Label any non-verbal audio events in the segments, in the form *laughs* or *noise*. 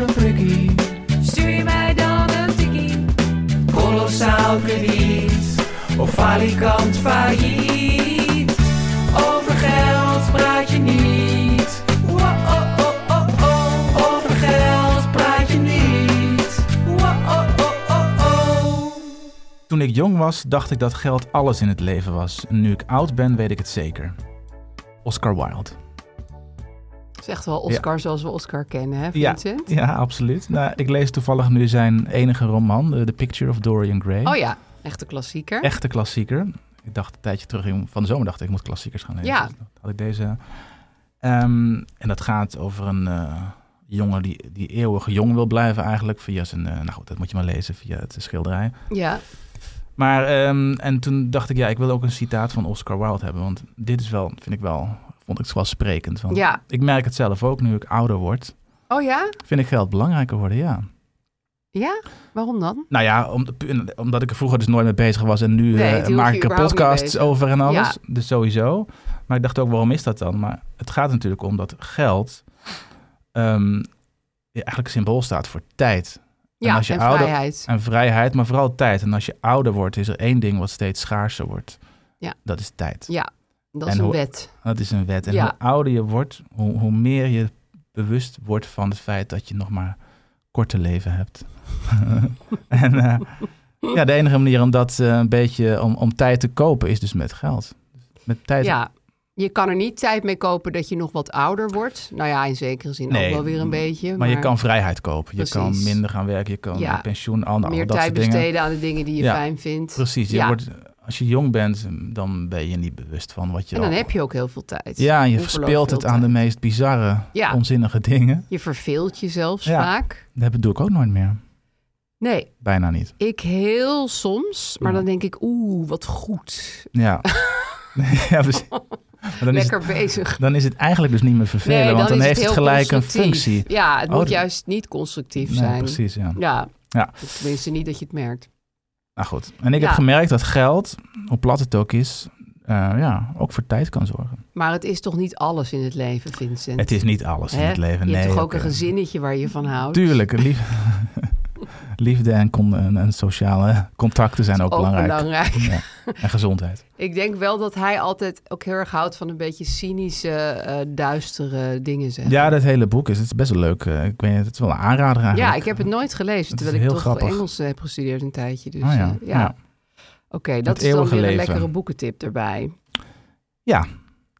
een prikkie. Stuur je mij dan een tikkie? Kolossaal krediet, Op falikant failliet. Over geld praat je niet. oh, Wow-oh-oh-oh-oh. oh. Over geld praat je niet. oh, Wow-oh-oh-oh-oh. Toen ik jong was, dacht ik dat geld alles in het leven was. En nu ik oud ben, weet ik het zeker. Oscar Wilde. Het is echt wel Oscar zoals we Oscar kennen, hè Ja, Vincent? ja, absoluut. Nou, ik lees toevallig nu zijn enige roman, eh, The Picture of Dorian Gray. Oh ja, echte klassieker. Echte klassieker. Ik dacht een tijdje terug in- van de zomer, dacht ik, ik moet klassiekers gaan lezen. Ja. Dus dat had ik deze. Ehm, en dat gaat over een eh, jongen die, die eeuwig jong wil blijven eigenlijk. Via zijn, eh, nou goed, dat moet je maar lezen, via het schilderij. Ja, Maar, ehm, en toen dacht ik, ja, ik wil ook een citaat van Oscar Wilde hebben. Want dit is wel, vind ik wel, vond ik wel sprekend. Want Ja. Ik merk het zelf ook, nu ik ouder word, Oh ja? vind ik geld belangrijker worden, ja. Ja? Waarom dan? Nou ja, om, pu- omdat ik er vroeger dus nooit mee bezig was en nu Nee, eh, het hield maak je ik er überhaupt niet podcasts bezig. over en alles. Ja. Dus sowieso. Maar ik dacht ook, waarom is dat dan? Maar het gaat natuurlijk om dat geld ehm, ja, eigenlijk symbool staat voor tijd Ja, als je en ouder- vrijheid. en vrijheid, maar vooral tijd. En als je ouder wordt, is er één ding wat steeds schaarser wordt. Ja. Dat is tijd. Ja, dat is En een hoe- wet. Dat is een wet. En Ja. hoe ouder je wordt, hoe, hoe meer je bewust wordt van het feit dat je nog maar korte leven hebt. *laughs* en eh, ja, de enige manier om dat eh, een beetje om, om tijd te kopen is dus met geld. Met tijd. Ja. Je kan er niet tijd mee kopen dat je nog wat ouder wordt. Nou ja, in zekere zin Nee, ook wel weer een beetje. maar, je kan vrijheid kopen. Je kan Precies. minder gaan werken. Je kan Ja. naar pensioen, al, al meer dat tijd soort dingen. besteden aan de dingen die je Ja, fijn vindt. Precies. Je ja. wordt, als je jong bent, dan ben je niet bewust van wat je En dan al- heb je ook heel veel tijd. Ja, en je Ongelooflijk verspeelt veel het aan tijd. de meest bizarre, Ja. onzinnige dingen. Je verveelt jezelf Ja. vaak. Dat doe ik ook nooit meer. Nee, Bijna niet. ik heel soms. Maar dan denk ik, oeh, wat goed. Ja. *laughs* ja precies. Maar dan, is Lekker het, bezig. dan is het eigenlijk dus niet meer vervelen, Nee, want dan is heeft het heel gelijk een constructief. functie. Ja, het Oh, moet dat- juist niet constructief Nee, zijn. precies, ja. Ja, Ja. tenminste niet dat je het merkt. Nou goed. En ik Ja. heb gemerkt dat geld, hoe plat het ook is, eh, ja, ook voor tijd kan zorgen. Maar het is toch niet alles in het leven, Vincent? Het is niet alles in Hè? het leven. Je nee, hebt toch ook oké. een gezinnetje waar je van houdt? Tuurlijk, lief- *laughs* liefde en, con- en, en sociale contacten zijn ook, Ook belangrijk. belangrijk. *laughs* Ja. En gezondheid. Ik denk wel dat hij altijd ook heel erg houdt van een beetje cynische, eh, duistere dingen zeggen. Ja, dat hele boek is, het is best wel leuk. eh, Ik weet niet, het is wel een aanrader eigenlijk. Ja, ik heb het nooit gelezen, Dat is terwijl ik heel toch grappig. Engels heb gestudeerd een tijdje. Dus Ah, ja. eh, ja. Ja. Oké, dat Het is dan eeuwige weer een leven. lekkere boekentip erbij. Ja.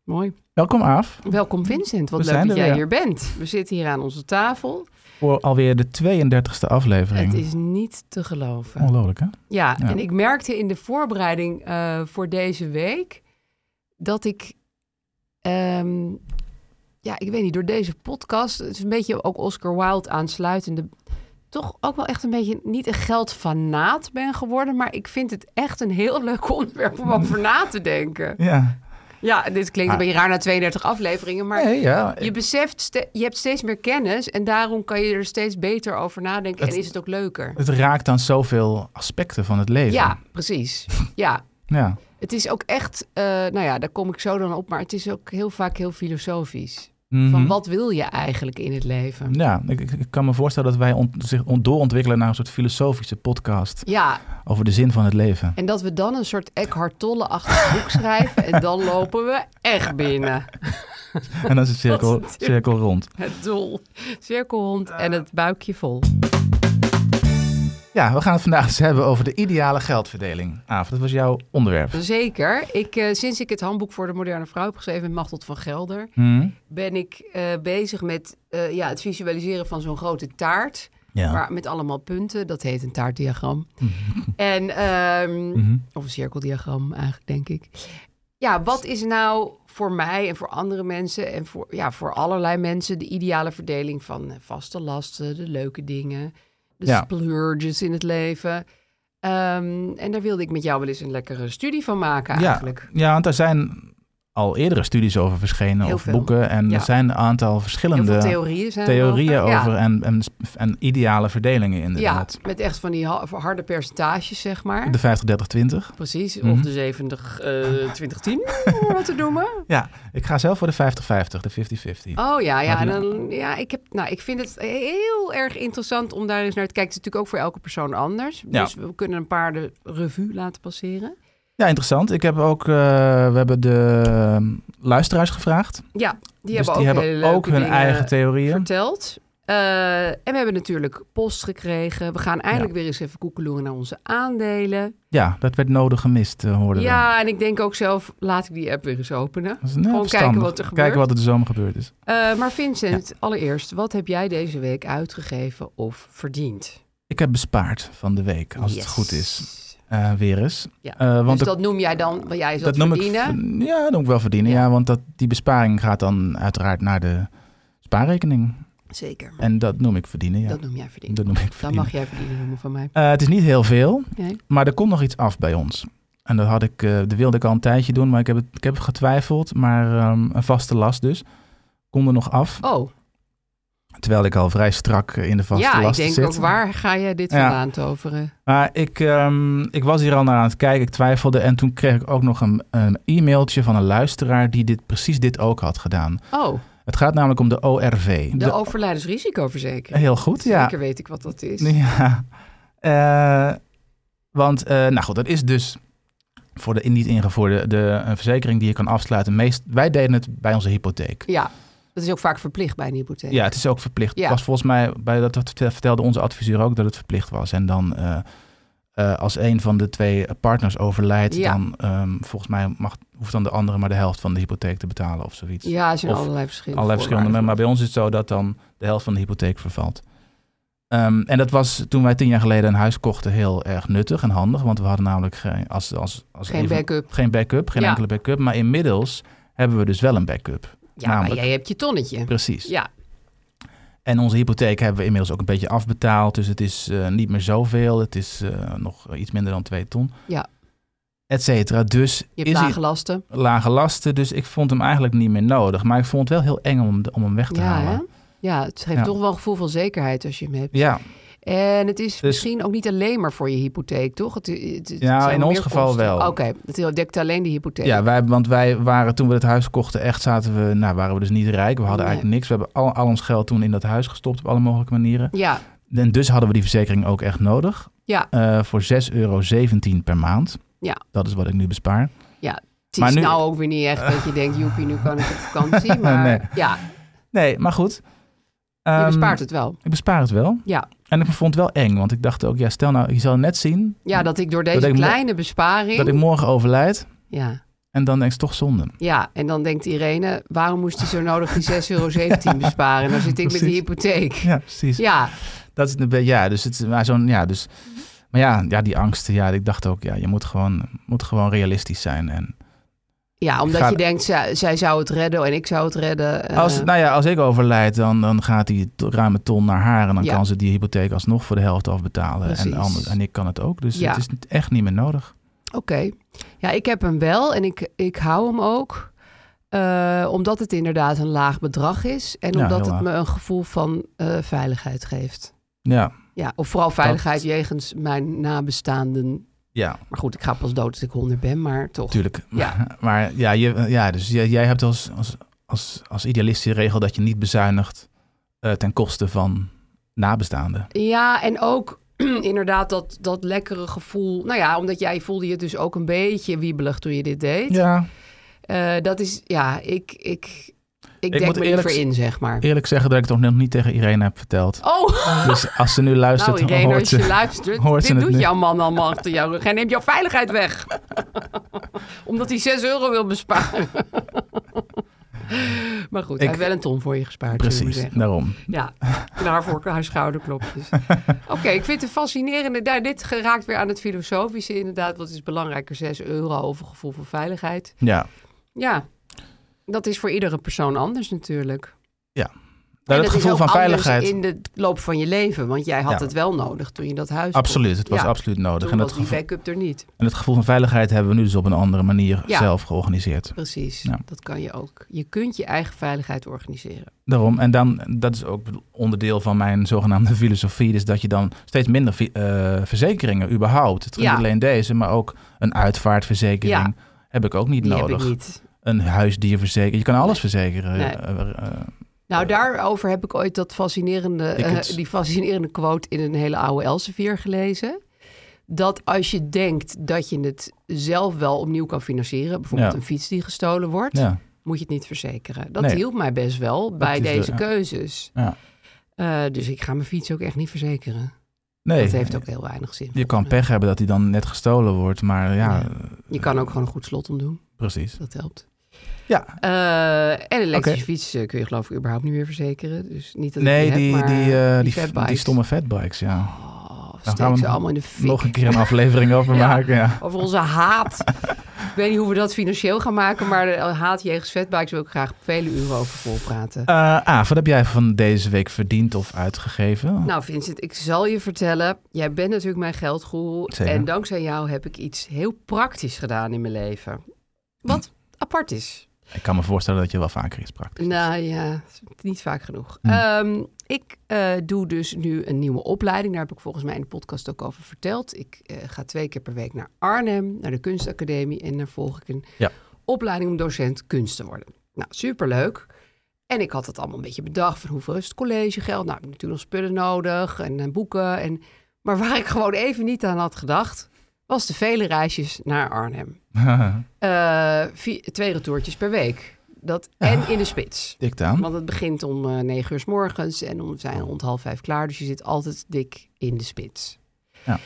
Mooi. Welkom af Welkom Vincent, wat We leuk zijn dat er jij hier weer. bent. We zitten hier aan onze tafel. voor alweer de 32e aflevering. Het is eh, niet te geloven. Ongelooflijk, hè? Ja, Ja. en ik merkte in de voorbereiding eh, voor deze week dat ik, ehm, ja, ik weet niet, door deze podcast, het is een beetje ook Oscar Wilde aansluitende, toch ook wel echt een beetje niet een *laughs* geldfanaat ben geworden, maar ik vind het echt een heel leuk onderwerp om over na te denken. Ja. Ja, dit klinkt Ah. een beetje raar na 32 afleveringen, maar Nee, ja. je beseft, ste- je hebt steeds meer kennis en daarom kan je er steeds beter over nadenken Het- en is het ook leuker. Het raakt aan zoveel aspecten van het leven. Ja, precies. *laughs* Ja, ja. het is ook echt, eh, nou ja, daar kom ik zo dan op, maar het is ook heel vaak heel filosofisch. Mhm. Van wat wil je eigenlijk in het leven? Ja, ik, ik- ik kan me voorstellen dat wij ont- zich on- doorontwikkelen naar een soort filosofische podcast Ja, over de zin van het *laughs* leven. en dat we dan een soort Eckhart Tolle-achtig *laughs* boek schrijven en dan lopen we echt binnen. En dan is het cirkel, Dat is natuurlijk- cirkel rond. Het doel, cirkelhond en het buikje vol. Ja, we gaan het vandaag eens hebben over de ideale geldverdeling. Aaf, dat was jouw onderwerp. Dus- Zeker. Ik, eh, sinds ik het handboek voor de moderne vrouw heb geschreven met Machtel van Gelder, Mhm. ben ik eh, bezig met eh, ja, het visualiseren van zo'n grote taart. Ja. Maar met allemaal punten. Dat heet een *laughs* taartdiagram. en, ehm, Mhm. Of een cirkeldiagram eigenlijk, denk ik. Ja, wat is nou voor mij en voor andere mensen en voor, ja, voor allerlei mensen de ideale verdeling van eh, vaste lasten, de leuke dingen, de Ja. splurges in het leven. Ehm, en daar wilde ik met jou wel eens een lekkere studie van maken Ja, eigenlijk. Ja, want daar zijn al eerdere studies over verschenen Heel of veel. boeken. En Ja. er zijn een aantal Heel veel verschillende theorieën zijn theorieën erover. Ja. over en, en, en ideale verdelingen Ja, inderdaad. met echt van die ha- harde percentages, zeg maar. De 50, 30, 20. Precies, Mhm. of de 70, eh 2010, om wat te noemen. Ja, ik ga zelf voor de 50, 50, de 50, 50. Oh ja, ja, Maar en die- dan, ja ik, heb, nou, ik vind het heel erg interessant om daar eens naar te kijken. Het is natuurlijk ook voor elke persoon anders. Ja. Dus we kunnen een paar de revue laten passeren. Ja, interessant. Ik heb ook, eh, we hebben de eh, luisteraars gevraagd. Ja, die dus hebben die ook, hele hebben leuke ook hun dingen eigen theorieën. verteld. Eh, en we hebben natuurlijk post gekregen. We gaan eindelijk weer eens even koekeloeren naar onze aandelen. Ja, dat werd nodig gemist, eh, hoorden we. Ja, en ik denk ook zelf, laat ik die app weer eens openen. Dat is, nou, Gewoon verstandig. kijken wat er gebeurt. Kijken wat er de zomer gebeurd is. Eh, maar Vincent, allereerst, wat heb jij deze week uitgegeven of verdiend? Ik heb bespaard van de week, als het Yes. goed is. eh, weer eens. Ja. Eh, want dus de- dat noem jij dan, wat jij is dat noem ik verdienen? ver- ja, dat noem ik wel verdienen. Ja, Ja. want dat, die besparing gaat dan uiteraard naar de spaarrekening. Zeker. En dat noem ik verdienen, ja. Dat Dat, noem jij verdienen. noem ik Dan verdienen. mag jij verdienen noemen van mij. Eh, het is niet heel veel, Nee. maar er komt nog iets af bij ons. En dat, had ik, eh, dat wilde ik al een tijdje doen, maar ik heb, het, ik heb getwijfeld. Maar ehm, een vaste last dus. Komt er nog af. Oh, Terwijl ik al vrij strak eh, in de vaste ja, ik last zit. denk ook, waar ga jij dit Ja. vandaan toveren? Maar ik, ehm, ik was hier al naar aan het kijken. Ik twijfelde. En toen kreeg ik ook nog een, een e-mailtje van een luisteraar die dit, precies dit ook had gedaan. Oh, Het gaat namelijk om de ORV. de, De- overlijdensrisicoverzekering. heel goed, ja. Zeker weet ik wat dat is. *laughs* ja. Eh, want, eh, nou goed, dat is dus voor de in- niet ingevoerde de, eh, verzekering die je kan afsluiten. Meest, wij deden het bij onze hypotheek. Ja, dat is ook vaak verplicht bij een hypotheek. Ja, het is ook verplicht. Ja. Het was volgens mij, bij dat, dat vertelde onze adviseur ook, dat het verplicht was. En dan eh, eh, als een van de twee partners overlijdt, Ja. dan ehm, volgens mij mag, hoeft dan de andere maar de helft van de hypotheek te betalen of zoiets. Ja, er zijn Of allerlei verschillende Allerlei verschillende, maar, voorwaarden. maar bij ons is het zo dat dan de helft van de hypotheek vervalt. Ehm, en dat was toen wij tien jaar geleden een huis kochten heel erg nuttig en handig. Want we hadden namelijk geen, als, als, als Geen een van- backup. geen, backup, geen Ja. enkele backup. Maar inmiddels hebben we dus wel een backup. Ja, maar namelijk- jij hebt je tonnetje. Precies. Ja, En onze hypotheek hebben we inmiddels ook een beetje afbetaald. Dus het is eh, niet meer zoveel. Het is eh, nog iets minder dan twee ton. Ja. Et cetera. Dus je is hebt hij- lage lasten. lage lasten. Dus ik vond hem eigenlijk niet meer nodig. Maar ik vond het wel heel eng om, de- om hem weg te Ja, halen. hè? ja, het geeft Ja. toch wel een gevoel van zekerheid als je hem hebt. Ja, En het is Dus- misschien ook niet alleen maar voor je hypotheek, toch? Het, het- het- het Ja, zijn in wel ons meer geval kosten. wel. Oké, het dekt alleen de hypotheek. ja wij, want wij waren toen we het huis kochten echt zaten we... Nou, waren we dus niet rijk. We hadden Nee. eigenlijk niks. We hebben al, al ons geld toen in dat huis gestopt op alle mogelijke manieren. ja. En dus hadden we die verzekering ook echt nodig. Ja. Eh, voor 6,17 euro per maand. Ja. Dat is wat ik nu bespaar. Het Maar is nu- nou ook weer niet echt dat je denkt, joepie, nu kan ik op *laughs* vakantie. Maar Nee. ja, Nee, maar goed. je Ehm, bespaart het wel. Ik bespaar het wel. Ja. En ik vond het wel eng, want ik dacht ook, ja, stel nou, je zal net zien Ja, dat ik door deze ik mo- kleine besparing... dat ik morgen overlijd. ja, En dan denk ik, het is toch zonde. ja, en dan denkt Irene, waarom moest hij zo nodig die 6,17 euro besparen? En dan zit ik met Precies. die hypotheek. Ja, precies. Ja, Dat is een beetje, ja, dus het is maar zo'n, ja, dus. Mhm. Maar ja, ja, die angsten, ja, ik dacht ook, ja, je moet gewoon, moet gewoon realistisch zijn. En ja omdat Ga- je denkt, zij, zij zou het redden en ik zou het redden. eh, als, nou ja, als ik overlijd, dan, dan gaat die to- ruime ton naar haar. En dan Ja. kan ze die hypotheek alsnog voor de helft afbetalen. En, Precies. anders, en ik kan het ook. Dus Ja. het is echt niet meer nodig. Oké. Ja, ik heb hem wel en ik, ik hou hem ook. eh, omdat het inderdaad een laag bedrag is. En Ja, omdat heel het laag. me een gevoel van eh, veiligheid geeft. Ja, Ja, of vooral veiligheid jegens mijn nabestaanden. ja Maar goed, ik ga pas dood als ik honderd ben, maar toch. tuurlijk. Ja. *laughs* Maar ja, je, ja dus jij, jij hebt als, als, als, als idealist die regel dat je niet bezuinigt eh, ten koste van nabestaanden. Ja, en ook *clears throat* inderdaad dat, dat lekkere gevoel. Nou ja, omdat jij voelde je dus ook een beetje wiebelig toen je dit deed. Ja, Eh, dat is, ja, ik, ik, ik moet denk me eerlijk liever z- in, zeg maar. eerlijk zeggen dat ik het nog niet tegen Irene heb verteld. Oh, *laughs* *laughs* Dus als ze nu luistert, nou Irene, hoort als ze... je luistert, hoort ze dit het doet nu. jouw man allemaal achter jouw rug. Hij neemt jouw veiligheid weg. *laughs* Omdat hij 6 euro wil besparen. *laughs* maar goed, hij Ik- heeft wel een ton voor je gespaard. zullen we maar *laughs* Precies, Nou. zeggen. daarom. Ja, klaar voor haar *laughs* schouderklopjes. Oké, ik vind het fascinerende. Daar, dit geraakt weer aan het filosofische inderdaad. Wat is belangrijker, 6 euro of een gevoel van veiligheid? Ja. Nou, Ja, dat is voor iedere persoon anders natuurlijk. Nou, En dat is gevoel ook van anders veiligheid. in de loop van je leven. Want jij had Ja. het wel nodig toen je dat huis kocht. Absoluut, het was Ja, absoluut nodig. Toen En was dat, die gevoel, backup er niet. en het gevoel van veiligheid hebben we nu dus op een andere manier Ja. zelf georganiseerd. Precies, Ja. dat kan je ook. Je kunt je eigen veiligheid organiseren. Daarom, en dan, dat is ook onderdeel van mijn zogenaamde filosofie, dus dat je dan steeds minder vi- eh, verzekeringen überhaupt, het is Ja. niet alleen deze, maar ook een uitvaartverzekering Ja. heb ik ook niet Die nodig. heb ik niet. Een huisdierverzekering, je kan alles verzekeren. Nee. Eh, eh, Nou, Eh, daarover heb ik ooit dat fascinerende, eh, Dickens. die fascinerende quote in een hele oude Elsevier gelezen. Dat als je denkt dat je het zelf wel opnieuw kan financieren, bijvoorbeeld Ja. een fiets die gestolen wordt, ja. moet je het niet verzekeren. Dat Nee. hielp mij best wel bij is de- deze ja. keuzes. Ja. Eh, dus ik ga mijn fiets ook echt niet verzekeren. Nee, dat heeft ook heel weinig zin. je voor kan me. pech hebben dat die dan net gestolen wordt, maar ja, Ja. Je kan ook gewoon een goed slot om doen. precies. Dat helpt. Ja, Eh, en een elektrische Oké. fiets eh, kun je geloof ik überhaupt niet meer verzekeren. Dus niet dat ik nee, heb, die, maar die, eh, die, f- die, fatbikes. stomme fatbikes, ja. Oh, gaan steek we ze allemaal in de fik. Nog een keer een aflevering over *laughs* Ja. maken, ja. Over onze haat. *laughs* ik weet niet hoe we dat financieel gaan maken, maar de haat jegens vetbikes wil ik graag vele uren over volpraten. Eh Aaf, wat heb jij van deze week verdiend of uitgegeven? Nou Vincent, ik zal je vertellen. Jij bent natuurlijk mijn geldgoeroe. Zeker. En dankzij jou heb ik iets heel praktisch gedaan in mijn leven. Wat apart is. Ik kan me voorstellen dat je wel vaker iets praktisch doet. Nou ja, niet vaak genoeg. Hmm. Ehm, ik eh, doe dus nu een nieuwe opleiding. Daar heb ik volgens mij in de podcast ook over verteld. Ik eh, ga twee keer per week naar Arnhem, naar de kunstacademie. En daar volg ik een Ja. opleiding om docent kunst te worden. Nou, superleuk. En ik had dat allemaal een beetje bedacht. Van hoeveel is het collegegeld? Nou, ik heb natuurlijk nog spullen nodig en, eh, boeken. En... Maar waar ik gewoon even niet aan had gedacht... was de vele reisjes naar Arnhem. *laughs* Eh, vi- twee retourtjes per week. Dat, En in de spits. Dik dan. Want het begint om eh, negen uur s morgens en om, we zijn rond half vijf klaar. Dus je zit altijd dik in de spits. Ja.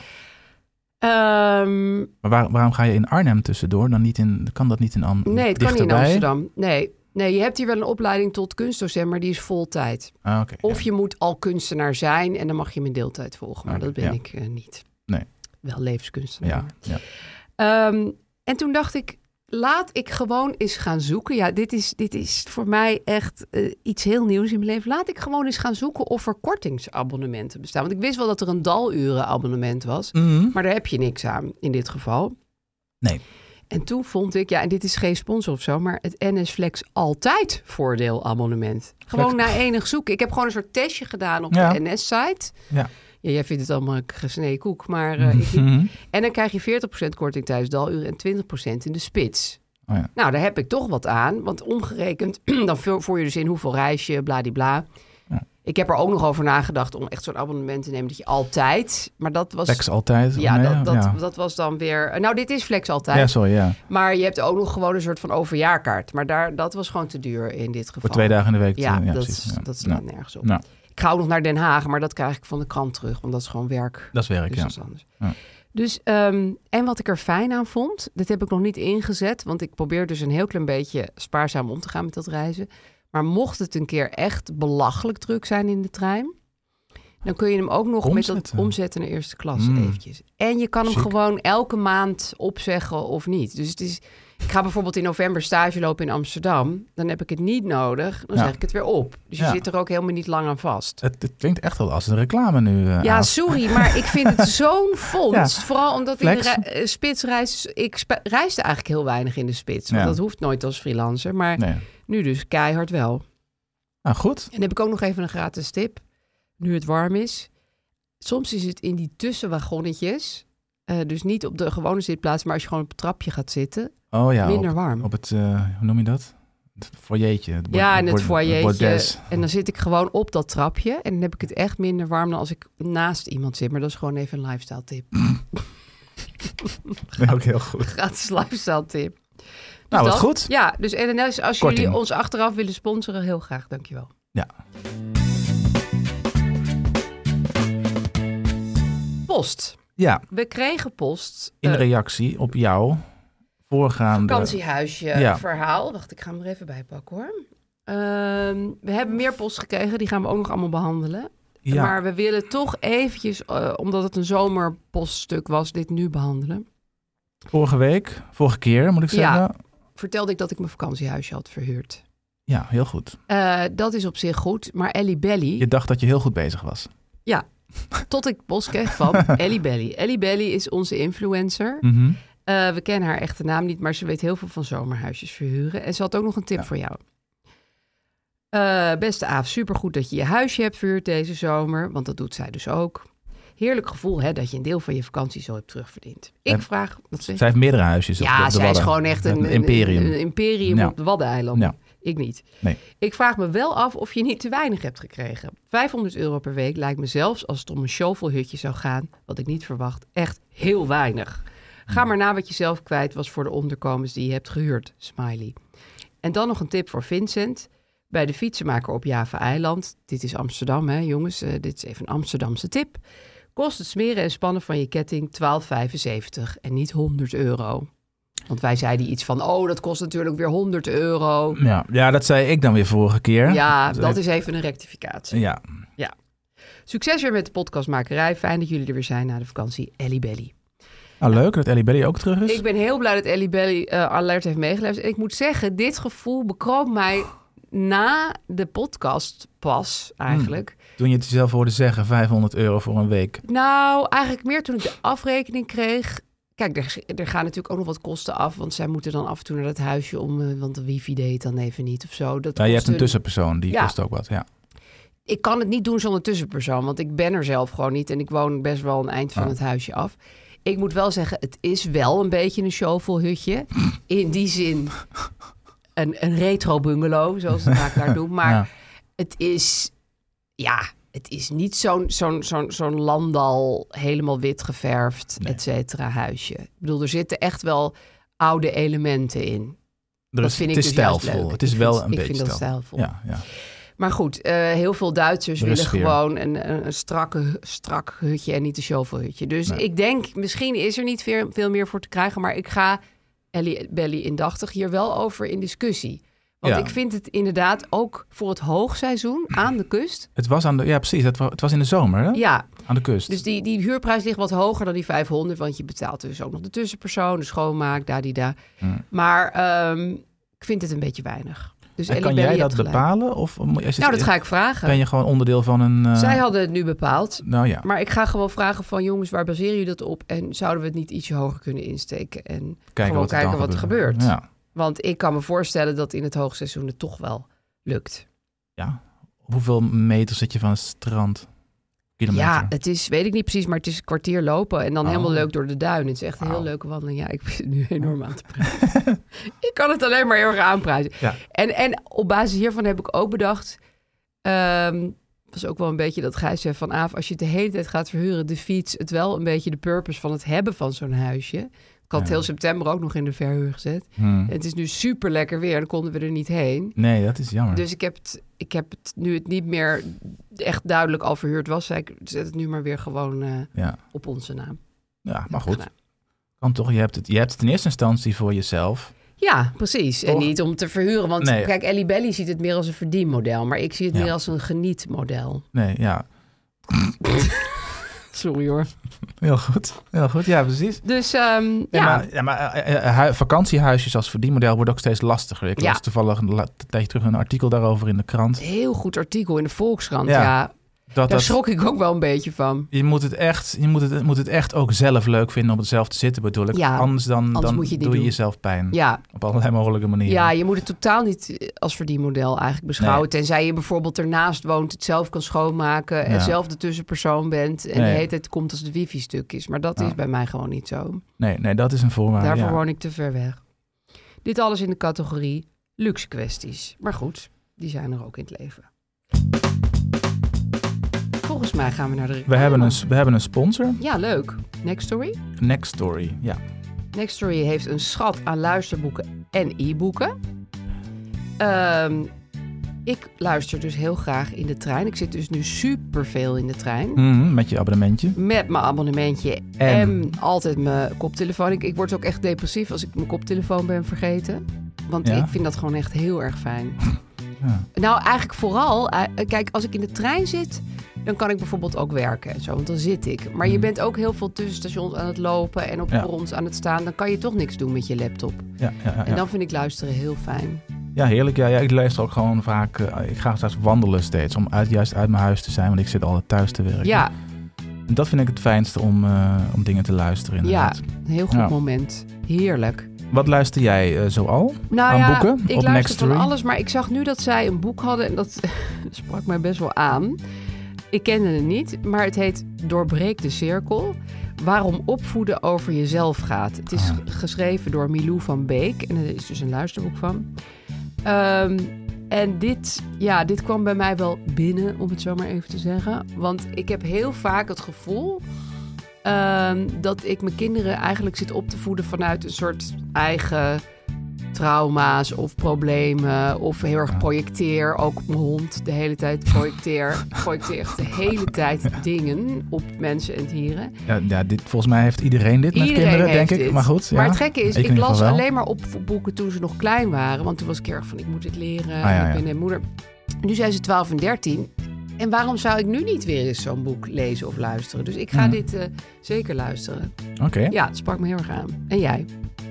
Ehm, Maar waar- waarom ga je in Arnhem tussendoor? Dan niet in, kan dat niet in Amsterdam? nee, het kan niet in Amsterdam. Nee. nee, je hebt hier wel een opleiding tot kunstdocent, maar die is vol tijd. Ah, oké, Of ja. je moet al kunstenaar zijn en dan mag je mijn deeltijd volgen. Maar Oké, dat ben Nou, ja. ik eh, niet. Nee. Wel levenskunstenaar. Ja, ja. Ehm, en toen dacht ik, laat ik gewoon eens gaan zoeken. Ja, dit is, dit is voor mij echt eh, iets heel nieuws in mijn leven. Laat ik gewoon eens gaan zoeken of er kortingsabonnementen bestaan. Want ik wist wel dat er een dalurenabonnement was. Mm. Maar daar heb je niks aan in dit geval. Nee. En toen vond ik, ja, en dit is geen sponsor of zo, maar het NS Flex altijd voordeelabonnement. Gewoon na enig zoeken. Ik heb gewoon een soort testje gedaan op Ja. de NS-site. Ja. Ja, jij vindt het allemaal een gesneden koek, maar eh, ik niet. Mhm. En dan krijg je 40% korting tijdens daluren en 20% in de spits. Oh ja. Nou, daar heb ik toch wat aan. Want omgerekend, *clears throat* dan vul- voer je dus in hoeveel reis je, bladibla. Ja. Ik heb er ook nog over nagedacht om echt zo'n abonnement te nemen dat je altijd... Maar dat was... Seks altijd. Ja, nee, dat, dat, ja. dat was dan weer... Nou, dit is flex altijd. ja, sorry, ja. Maar je hebt ook nog gewoon een soort van overjaarkaart. Maar daar, dat was gewoon te duur in dit geval. Voor twee dagen in de week. Ja, eh, dat, precies, is- ja. dat Ja. slaat nergens op. Nou. Ik ga ook nog naar Den Haag, maar dat krijg ik van de krant terug. Want dat is gewoon werk. Dat is werk, Dus ja. dat is anders. Ja. Dus, ehm, en wat ik er fijn aan vond, dat heb ik nog niet ingezet, want ik probeer dus een heel klein beetje spaarzaam om te gaan met dat reizen. Maar mocht het een keer echt belachelijk druk zijn in de trein, dan kun je hem ook nog met Omzetten. dat omzetten naar eerste klas Mm. eventjes. En je kan hem Chic. gewoon elke maand opzeggen of niet. Dus het is, Ik ga bijvoorbeeld in november stage lopen in Amsterdam. Dan heb ik het niet nodig. Dan Ja. zeg ik het weer op. Dus je Ja. zit er ook helemaal niet lang aan vast. Het, het klinkt echt wel als een reclame nu. eh, Ja, Aaf. sorry, maar ik vind het *laughs* zo'n fonds. Ja. Vooral omdat in de Flex. re- eh, spits reis... Ik spe- reisde eigenlijk heel weinig in de spits. Want Ja. dat hoeft nooit als freelancer. Maar Nee. nu dus keihard wel. Nou, goed. En dan heb ik ook nog even een gratis tip. Nu het warm is. Soms is het in die tussenwagonnetjes. eh, dus niet op de gewone zitplaats, maar als je gewoon op het trapje gaat zitten. Oh ja, minder op, warm. op het, eh, hoe noem je dat? Het foyertje. Het bord- ja, en het bord- bordes. *laughs* *laughs* foyertje. En dan zit ik gewoon op dat trapje. En dan heb ik het echt minder warm dan als ik naast iemand zit. Maar dat is gewoon even een lifestyle tip. *laughs* Nee, Ook heel goed. Gratis lifestyle tip. Dus Nou, wat dat- goed. Ja, dus NNS, als Korting. jullie ons achteraf willen sponsoren, heel graag. Dankjewel. Ja. Post. Ja, We kregen post. in eh, reactie op jouw voorgaande... vakantiehuisje Ja. verhaal. Wacht, ik ga hem er even bij pakken hoor. Ehm, we hebben meer post gekregen, die gaan we ook nog allemaal behandelen. Ja, Maar we willen toch eventjes, eh, omdat het een zomerpoststuk was, dit nu behandelen. vorige week, vorige keer moet ik Ja. zeggen. Vertelde ik dat ik mijn vakantiehuisje had verhuurd. Ja, heel goed. Eh, dat is op zich goed, maar Ellie Belly, Je dacht dat je heel goed bezig was. tot ik post kreeg *laughs* van Ellie Belly. Ellie Belly is onze influencer. Mhm. Eh, we kennen haar echte naam niet, maar ze weet heel veel van zomerhuisjes verhuren. En ze had ook nog een tip Ja. voor jou. Eh, beste Aaf, supergoed dat je je huisje hebt verhuurd deze zomer, want dat doet zij dus ook. Heerlijk gevoel hè, dat je een deel van je vakantie zo hebt terugverdiend. Ik En vraag... Wat zeg je? Zij heeft meerdere huisjes op de- op ja, de zij is Wadden. gewoon echt een, Een imperium. Een, een imperium Ja. op de Waddeneilanden. Ja. Ik niet. Nee. Ik vraag me wel af of je niet te weinig hebt gekregen. 500 euro per week lijkt me zelfs als het om een shovelhutje zou gaan, wat ik niet verwacht, echt heel weinig. Hmm. Ga maar na wat je zelf kwijt was voor de onderkomens die je hebt gehuurd, smiley. En dan nog een tip voor Vincent. Bij de fietsenmaker op Java-eiland, dit is Amsterdam hè jongens, eh, dit is even een Amsterdamse tip, kost het smeren en spannen van je ketting 12,75 en niet 100 euro. Want wij zeiden iets van, oh dat kost natuurlijk weer 100 euro. Ja. ja, dat zei ik dan weer vorige keer. Ja, Dus dat het- is even een rectificatie. Ja, Succes weer met de podcastmakerij. Fijn dat jullie er weer zijn na de vakantie. Ellie Belly. nou, leuk dat Ellie Belly ook terug is. Ik ben heel blij dat Ellie Belly eh, alert heeft meegeluisterd. En ik moet zeggen, dit gevoel bekroopt mij na de podcast pas eigenlijk. Toen je het jezelf hoorde zeggen, 500 euro voor een week. Nou, eigenlijk meer toen ik de afrekening kreeg. Kijk, er, er gaan natuurlijk ook nog wat kosten af. Want zij moeten dan af en toe naar dat huisje om. eh, want de wifi deed het dan even niet of zo. Dat Ja, je hebt een kostte- tussenpersoon, die Ja. kost ook wat. Ja. ik kan het niet doen zonder tussenpersoon, want ik ben er zelf gewoon niet en ik woon best wel een eind van Oh. het huisje af. Ik moet wel zeggen, het is wel een beetje een shovelhutje. In die zin een, een retro bungalow, zoals de vaak *laughs* daar doen. Maar Ja. het is, ja, het is niet zo'n zo'n zo'n zo'n landal helemaal wit geverfd, Nee. et cetera, huisje. Ik bedoel, er zitten echt wel oude elementen in. Er dat is- vind ik het is dus juist stijlvol. leuk. Het is Ik wel vind- een ik beetje vind dat stijlvol. Ja, ja. Maar goed, eh, heel veel Duitsers Er is willen sfeer. gewoon een, een, een strakke, strak hutje en niet een shovelhutje. Dus Nee. ik denk, misschien is er niet veel, veel meer voor te krijgen. Maar ik ga Ellie Belly indachtig hier wel over in discussie. Want Ja. ik vind het inderdaad ook voor het hoogseizoen aan de kust. Het was aan de, ja, precies. Het was, het was in de zomer, hè? Ja, Aan de kust. dus die, die huurprijs ligt wat hoger dan die 500. Want je betaalt dus ook nog de tussenpersoon, de schoonmaak, daar, die, daar. Hmm. Maar ehm, ik vind het een beetje weinig. Dus en Ellie kan Belly jij hebt dat gelijk. bepalen? Of moet- is het- Nou, dat ga ik vragen. ben je gewoon onderdeel van een... eh, Zij hadden het nu bepaald. Nou ja, Maar ik ga gewoon vragen van jongens, waar baseer je dat op? En zouden we het niet ietsje hoger kunnen insteken? En kijken gewoon wat, er kijken dan wat er gebeurt. Ja. Want ik kan me voorstellen dat in het hoogseizoen het toch wel lukt. Ja. Op hoeveel meter zit je van het strand? Kilometer. Ja, het is, weet ik niet precies, maar het is een kwartier lopen en dan Oh. helemaal leuk door de duin. Het is echt een heel Wauw. leuke wandeling. Ja, ik *laughs* ben nu enorm aan te praten. *laughs* ik kan het alleen maar heel erg aanprijzen. Ja. En, en op basis hiervan heb ik ook bedacht, ehm was ook wel een beetje dat Gijs zei van Aaf, als je het de hele tijd gaat verhuren, de fiets, het wel een beetje de purpose van het hebben van zo'n huisje. Ik had het Ja. heel september ook nog in de verhuur gezet. Hmm. Het is nu super lekker weer, dan konden we er niet heen. Nee, dat is jammer. Dus ik heb, het, ik heb het, nu het niet meer echt duidelijk al verhuurd was, zei ik, zet het nu maar weer gewoon eh, Ja. op onze naam. ja, Heb maar ik goed. gedaan. Kan toch, je hebt, het, je hebt het in eerste instantie voor jezelf. Ja, precies. En Toch? niet om te verhuren, want Nee. kijk, Ellie Belly ziet het meer als een verdienmodel, maar ik zie het Ja. meer als een genietmodel. Nee, ja. Sorry hoor. Heel goed. Heel goed, ja, precies. Dus ehm, Ja, ja, maar, ja, maar eh, eh, hui- vakantiehuisjes als verdienmodel wordt ook steeds lastiger. Ik Ja. las toevallig een la- een tijdje terug een artikel daarover in de krant. heel goed artikel in de Volkskrant. Ja, Ja, Dat, daar dat, schrok ik ook wel een beetje van. je moet het echt, je moet het, moet het echt ook zelf leuk vinden om het zelf te zitten, bedoel ik. Ja, anders dan, anders dan moet je het niet doe je doen. jezelf pijn. Ja, Op allerlei mogelijke manieren. Ja, je moet het totaal niet eh, als verdienmodel eigenlijk beschouwen. Nee. Tenzij je bijvoorbeeld ernaast woont, het zelf kan schoonmaken... Ja. en zelf de tussenpersoon bent en Nee. de hele tijd komt als het wifi-stuk is. Maar dat Ja. is bij mij gewoon niet zo. Nee, nee, dat is een voorwaarde. Daarvoor ja. woon ik te ver weg. Dit alles in de categorie luxe kwesties. Maar goed, die zijn er ook in het leven. Volgens mij gaan we naar de We, reclame. hebben een, s- we hebben een sponsor, Ja, leuk. Next Story? Next Story. Ja. Next Story heeft een schat aan luisterboeken en e-boeken. Ehm, ik luister dus heel graag in de trein. Ik zit dus nu superveel in de trein. Mhm, met je abonnementje. Met mijn abonnementje en, En? altijd mijn koptelefoon. Ik, ik word ook echt depressief als ik mijn koptelefoon ben vergeten. Want Ja? ik vind dat gewoon echt heel erg fijn. Ja. Nou, eigenlijk vooral, eh, kijk, als ik in de trein zit, dan kan ik bijvoorbeeld ook werken en zo, want dan zit ik. Maar je Mhm. bent ook heel veel tussenstations aan het lopen en op Ja. perrons aan het staan. Dan kan je toch niks doen met je laptop. Ja, ja, ja, En ja. dan vind ik luisteren heel fijn. ja, heerlijk. Ja, ja, ik luister ook gewoon vaak. eh, ik ga straks wandelen steeds om uit, juist uit mijn huis te zijn, want ik zit altijd thuis te werken. Ja, En dat vind ik het fijnste om, eh, om dingen te luisteren. ja, Inderdaad. een heel goed Ja. moment. Heerlijk. Wat luister jij eh, zo al? Nou Aan ja, boeken ik op luister Next van Story? alles, maar ik zag nu dat zij een boek hadden en dat *laughs* sprak mij best wel aan. Ik kende het niet, maar het heet Doorbreek de cirkel. Waarom opvoeden over jezelf gaat. Het is Ah. g- geschreven door Milou van Beek en er is dus een luisterboek van. Ehm, en dit, ja, dit kwam bij mij wel binnen, om het zo maar even te zeggen. Want ik heb heel vaak het gevoel ehm, dat ik mijn kinderen eigenlijk zit op te voeden vanuit een soort eigen trauma's of problemen. Of heel erg projecteer. Ook mijn hond de hele tijd *laughs* projecteer. projecteert de hele tijd dingen op mensen en dieren. Ja, ja, dit, volgens mij heeft iedereen dit met Iedereen kinderen, denk heeft ik. dit. Maar goed, ja. Maar het gekke is, Ik ik, in ieder las geval wel. alleen maar op voor boeken toen ze nog klein waren. Want toen was ik erg van, ik moet dit leren. Ah, ja, en ik ja. ben een moeder. Nu zijn ze 12 en 13. En waarom zou ik nu niet weer eens zo'n boek lezen of luisteren? Dus ik ga Mhm. dit eh, zeker luisteren. Oké. Ja, het sprak me heel erg aan. En jij?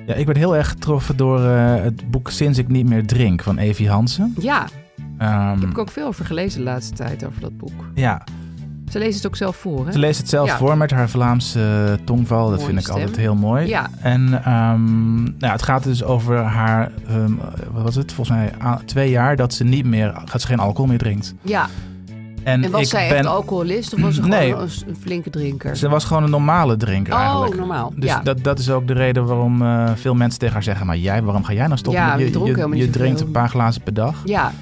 Ja, ik werd heel erg getroffen door eh, het boek Sinds ik niet meer drink van Evie Hansen. Ja, Ehm, heb ik ook veel over gelezen de laatste tijd over dat boek. Ja, Ze leest het ook zelf voor, hè? ze leest het zelf Ja. voor met haar Vlaamse eh, tongval. Dat Mooie vind ik stem. altijd heel mooi. Ja, En ehm, nou, ja, het gaat dus over haar, ehm, wat was het, volgens mij a- twee jaar dat ze niet meer, dat ze geen alcohol meer drinkt. ja. En, En was ik zij ben, echt alcoholist of was ze gewoon Nee. een, een flinke drinker? Ze was gewoon een normale drinker oh, eigenlijk. normaal. Dus ja. dat, dat is ook de reden waarom eh, veel mensen tegen haar zeggen: Maar jij, waarom ga jij nou stoppen? Ja, met- je je dronk je, helemaal je niet drinkt zoveel. een paar glazen per dag. ja,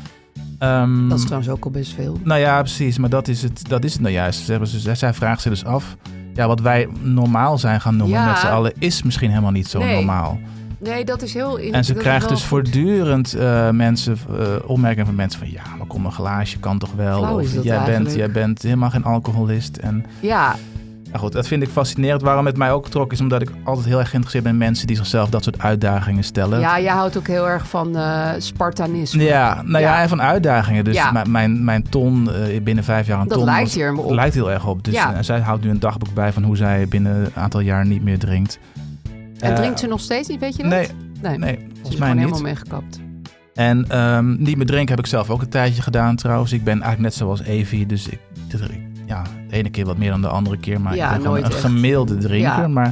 Ehm, dat is trouwens ook al best veel. nou ja, precies. Maar dat is het, dat is het nou juist. Ze hebben- ze- zij vraagt zich dus af. Ja, wat wij normaal zijn gaan noemen Ja. met z'n allen, is misschien helemaal niet zo Nee. normaal. Nee, dat is heel... En ze dat is krijgt wel dus voortdurend eh, mensen, eh, opmerkingen van mensen van ja, maar kom een glaasje, kan toch wel. Flauw of is dat jij bent, eigenlijk. jij bent helemaal geen alcoholist. En Ja, Nou goed, dat vind ik fascinerend. Waarom het mij ook trok is omdat ik altijd heel erg geïnteresseerd ben in mensen die zichzelf dat soort uitdagingen stellen. ja, jij houdt ook heel erg van eh, Spartanisme. Ja, nou ja, Ja. en van uitdagingen. Dus Ja. mijn, mijn, mijn ton, eh, binnen vijf jaar een Dat ton, lijkt was- hier me op. lijkt heel erg op. Dus Ja. eh, zij houdt nu een dagboek bij van hoe zij binnen een aantal jaar niet meer drinkt. en Eh, drinkt ze nog steeds niet, weet je dat? Nee, nee. nee, Ze is volgens gewoon mij helemaal niet. meegekapt. En ehm, niet meer drinken heb ik zelf ook een tijdje gedaan trouwens. Ik ben eigenlijk net zoals Evie, dus ik, ja, de ene keer wat meer dan de andere keer. Maar Ja, ik ben gewoon nooit een echt. gemiddelde drinker. Ja. Maar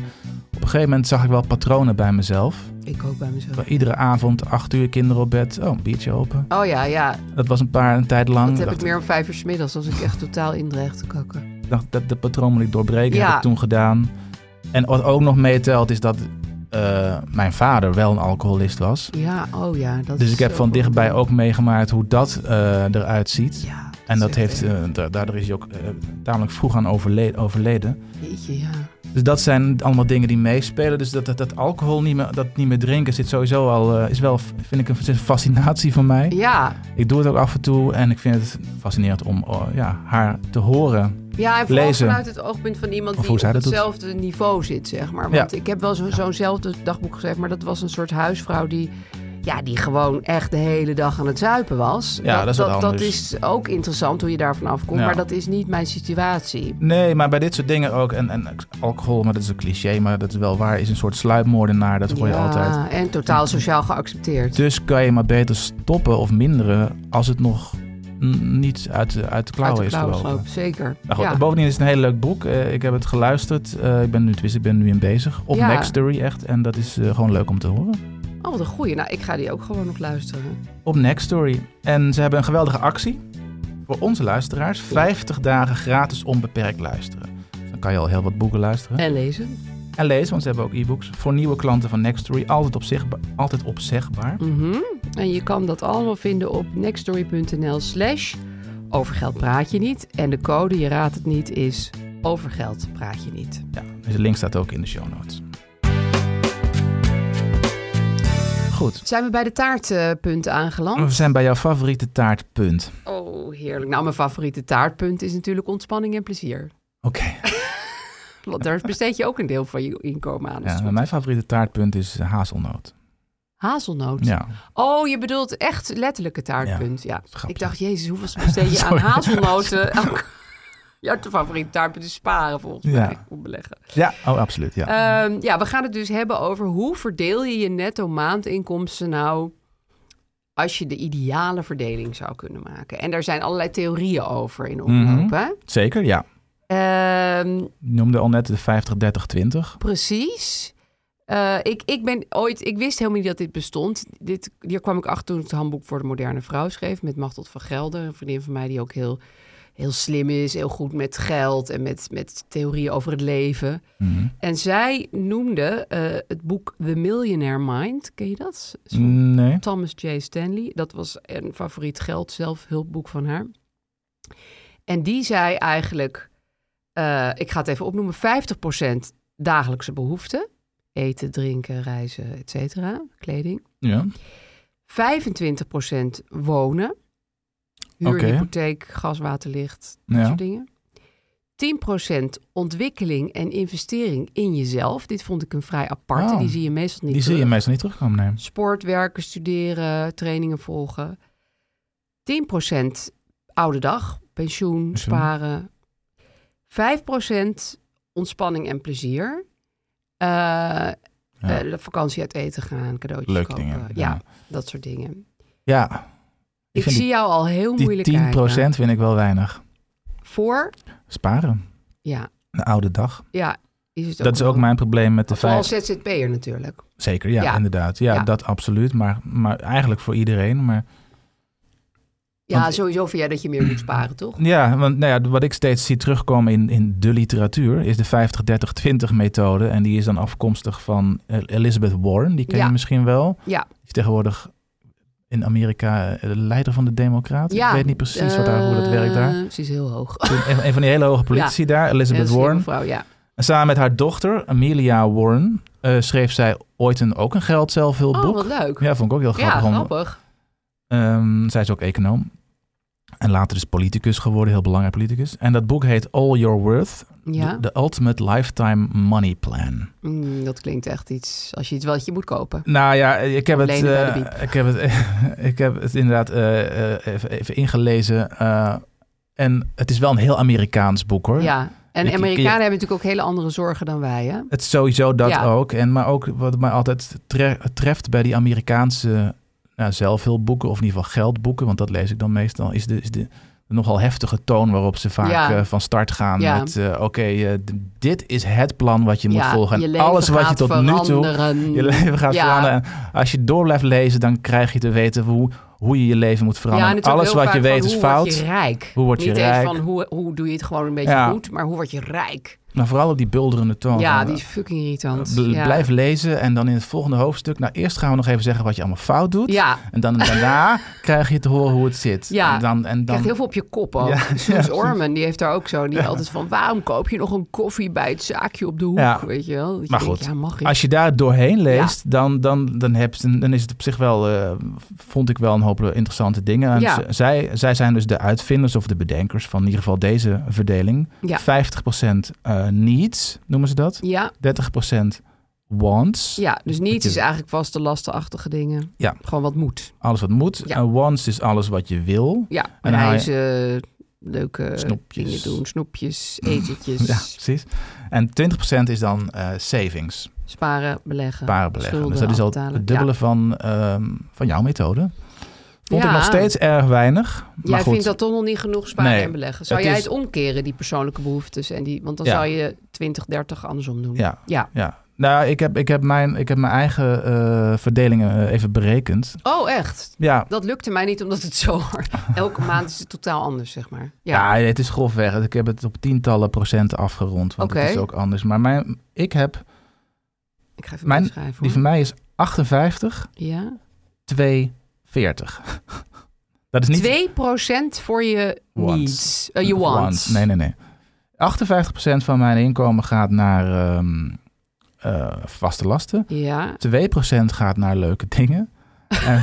op een gegeven moment zag ik wel patronen bij mezelf. Ik ook bij mezelf. Wel Iedere avond acht uur kinderen op bed. Oh, een biertje open. Oh ja, ja. Dat was een paar een tijd lang. Dat heb dacht, ik meer om vijf uur 's middags als ik echt totaal in dreig te kakken. dacht, dat, dat patroon moet ik doorbreken. Ja. Heb ik toen gedaan. En wat ook nog meetelt is dat eh, mijn vader wel een alcoholist was. Ja, oh ja. Dat Dus is ik heb zo van dichtbij vervelend. ook meegemaakt hoe dat eh, eruit ziet. Ja, En dat is heeft, echt- eh, da- daardoor is hij ook eh, tamelijk vroeg aan overle- overleden. Jeetje, ja. Dus dat zijn allemaal dingen die meespelen. Dus dat, dat, dat alcohol niet meer, dat niet meer drinken zit sowieso al, eh, is wel, vind ik, een is een fascinatie van mij. Ja, Ik doe het ook af en toe en ik vind het fascinerend om oh, ja, haar te horen. ja en vooral Lezen. vanuit het oogpunt van iemand Of die hoe op zij dat doet. hetzelfde niveau zit, zeg maar. Want ik heb wel zo- zo'nzelfde dagboek geschreven, maar dat was een soort huisvrouw die... Ja, die gewoon echt de hele dag aan het zuipen was. Ja, dat is wat dat, anders. is ook interessant hoe je daarvan afkomt. Ja. Maar dat is niet mijn situatie. Nee, maar bij dit soort dingen ook. En, en alcohol, maar dat is een cliché, maar dat is wel waar. Is een soort sluipmoordenaar, dat hoor je Ja, altijd. En totaal sociaal geaccepteerd. Dus kan je maar beter stoppen of minderen als het nog mm, niet uit de, uit de klauwen Uit de is klauwen gelopen. gelopen, zeker. Nou goed, ja. en Bovendien is het een heel leuk boek. Eh, ik heb het geluisterd. Eh, ik ben nu, tenminste, ik ben nu in bezig. Op Ja. Nextory echt. En dat is eh, gewoon leuk om te horen. Oh, wat een goeie. Nou, ik ga die ook gewoon nog luisteren. Op Nextory. En ze hebben een geweldige actie voor onze luisteraars. 50 dagen gratis onbeperkt luisteren. Dus dan kan je al heel wat boeken luisteren. En lezen. En lezen, want ze hebben ook e-books. Voor nieuwe klanten van Nextory. Altijd, opzichtba- altijd opzegbaar. Mhm. En je kan dat allemaal vinden op nextstory.nl slash overgeld praat je niet. En de code, je raadt het niet, is overgeld praat je niet. Ja, deze link staat ook in de show notes. Goed. Zijn we bij de taartpunten We aangeland? zijn bij jouw favoriete taartpunt. Oh, heerlijk. Nou, mijn favoriete taartpunt is natuurlijk ontspanning en plezier. Oké. Want daar besteed je ook een deel van je inkomen aan. als het Ja, goed mijn favoriete taartpunt is eh, hazelnoot. is. Hazelnoot. Ja. Oh, je bedoelt echt letterlijke taartpunt. Ja. grapje. Ik dacht, jezus, hoeveel besteed *laughs* je aan Sorry. hazelnoten? *laughs* Elke- Jouw favoriete taartpunt is sparen, volgens Ja. mij. Om beleggen. Ja, oh, absoluut. Ja. Ehm, ja, we gaan het dus hebben over hoe verdeel je je netto maandinkomsten nou als je de ideale verdeling zou kunnen maken. En daar zijn allerlei theorieën over in omloop. Mhm. hè? Zeker, ja. Ehm, Je noemde al net de 50, 30, 20. precies. Eh, ik, ik ben ooit, ik wist helemaal niet dat dit bestond. Dit, hier kwam ik achter toen ik het handboek voor de moderne vrouw schreef met Machteld van Gelder, een vriendin van mij die ook heel, heel slim is, heel goed met geld en met, met theorieën over het leven. Mhm. En zij noemde eh, het boek The Millionaire Mind. Ken je dat? Is van Mm, Nee. Thomas J. Stanley. Dat was een favoriet geld zelfhulpboek van haar. En die zei eigenlijk, eh, ik ga het even opnoemen, 50% dagelijkse behoeften. Eten, drinken, reizen, et cetera, kleding. Ja. 25% wonen. Huur, Oké. hypotheek, gas, water, licht, dat Ja. soort dingen. 10% ontwikkeling en investering in jezelf. Dit vond ik een vrij aparte. Oh, die zie je meestal niet Die zie je terug. meestal niet terugkomen, nee. Sport, werken, studeren, trainingen volgen. 10% oude dag, pensioen, Pensioen. sparen. 5% ontspanning en plezier. Eh, eh, de vakantie uit eten gaan, cadeautjes Leuke kopen. dingen, eh, Ja, ja. dat soort dingen. Ja, Ik, vind zie die- jou al heel die 10% moeilijk kijken. vind ik wel weinig. Voor? Sparen. Ja, De oude dag. ja. Is het Dat is ook wel. mijn probleem met de Vooral vijf. ZZP'er natuurlijk. Zeker, ja, Ja. inderdaad. Ja, Ja. dat absoluut. Maar, maar eigenlijk voor iedereen. Maar Ja, Want- sowieso vind jij dat je meer moet sparen, toch? Ja, want nou ja, wat ik steeds zie terugkomen in, in de literatuur is de 50-30-20 methode. En die is dan afkomstig van eh, Elizabeth Warren. Die ken Ja. je misschien wel. Ja. Die is tegenwoordig in Amerika eh, de leider van de Democraten. ja, eh, ik weet niet precies wat daar, hoe dat werkt daar. Ze is heel hoog. Een, een van die hele *laughs* hoge politici daar, Elizabeth Warren. Mevrouw, ja. En samen met haar dochter, Amelia Warren, eh, schreef zij ooit een, ook een geld Oh, zelfhulpboek. wat leuk. ja, vond ik ook heel Ja, grappig. om- grappig. Ehm, zij is ook econoom. En later dus politicus geworden, heel belangrijk politicus. En dat boek heet All Your Worth, Ja, The, The Ultimate Lifetime Money Plan. Mm, dat klinkt echt iets. Als je iets wat je moet kopen. Nou ja, ik heb het, Lenen bij de eh, Biep. ik heb het, *laughs* ik heb het inderdaad eh, eh, even, even ingelezen. eh, en het is wel een heel Amerikaans boek hoor. Ja. En Ik- ik- Amerikanen ja. hebben natuurlijk ook hele andere zorgen dan wij, hè? Het is sowieso dat Ja. ook. En, maar ook wat mij altijd tre- treft bij die Amerikaanse nou, zelfhulpboeken, of in ieder geval geldboeken, want dat lees ik dan meestal, is de, is de nogal heftige toon waarop ze vaak Ja. eh, van start gaan. Ja. Met eh, oké, eh, d- dit is het plan wat je moet ja, volgen. je En leven alles wat je gaat tot nu toe veranderen. je leven gaat Ja. veranderen. En als je door blijft lezen, dan krijg je te weten hoe, hoe je je leven moet Ja, en veranderen. het is ook alles heel wat je vaak weet van, is hoe fout. Word je rijk? Hoe word je Niet rijk? eens van hoe, hoe doe je het gewoon een beetje Ja. goed, maar hoe word je rijk? Maar vooral op die bulderende toon. ja, van, eh, die is fucking irritant. Bl- ja. Blijf lezen en dan in het volgende hoofdstuk. Nou, eerst gaan we nog even zeggen wat je allemaal fout doet. Ja, En *laughs* dan daarna krijg je te horen hoe het zit. Ja, en dan, en dan, krijgt heel veel op je kop *laughs* ook. *laughs* Ja, Suus Orman, die heeft daar ook zo. Die altijd van, waarom koop je nog een koffie bij het zaakje op de hoek? Ja. Weet je wel? Dat Maar je denkt, goed, ja, mag ik? als je daar doorheen leest, dan, dan, dan, heb, je- dan is het op zich wel, eh, vond ik wel een hoop interessante dingen. En Ja. z- zij, zij zijn dus de uitvinders of de bedenkers van in ieder geval deze verdeling. Ja. 50% eh needs noemen ze dat. Ja, 30% wants. Ja, dus niets Natuurlijk. is eigenlijk vaste lastenachtige dingen. Ja. Gewoon wat moet. Alles wat moet. Ja. En wants is alles wat je wil. Ja, En dan haal je- reizen, leuke Snoepjes. dingen doen, snoepjes, etentjes, *laughs* Ja, precies. En 20% is dan eh, savings, sparen, beleggen. sparen beleggen. schulden dus dat is al afbetalen. het dubbele Ja. van, ehm, van jouw methode. Vond Ja. ik nog steeds erg weinig. Maar jij goed, vindt dat toch nog niet genoeg sparen Nee, en beleggen. Zou het jij is- het omkeren, die persoonlijke behoeftes? En die, want dan Ja. zou je 20, 30 andersom doen. Ja. Ja. ja. Nou, ik heb, ik heb, mijn, ik heb mijn eigen eh, verdelingen eh, even berekend. Oh, echt? Ja. Dat lukte mij niet, omdat het zo *laughs* hard... Elke maand is het totaal anders, zeg maar. Ja. Ja. het is grofweg. Ik heb het op tientallen procent afgerond. Want Oké. het is ook anders. Maar mijn, ik heb, Ik ga even Mijn- schrijven. die van mij is 58, Ja. 240. *laughs* Dat is niet 2% voor je Wants. needs. Eh, je wants. Nee, nee, nee. 58% van mijn inkomen gaat naar ehm, eh, vaste lasten. Ja. 2% gaat naar leuke dingen. *laughs* en,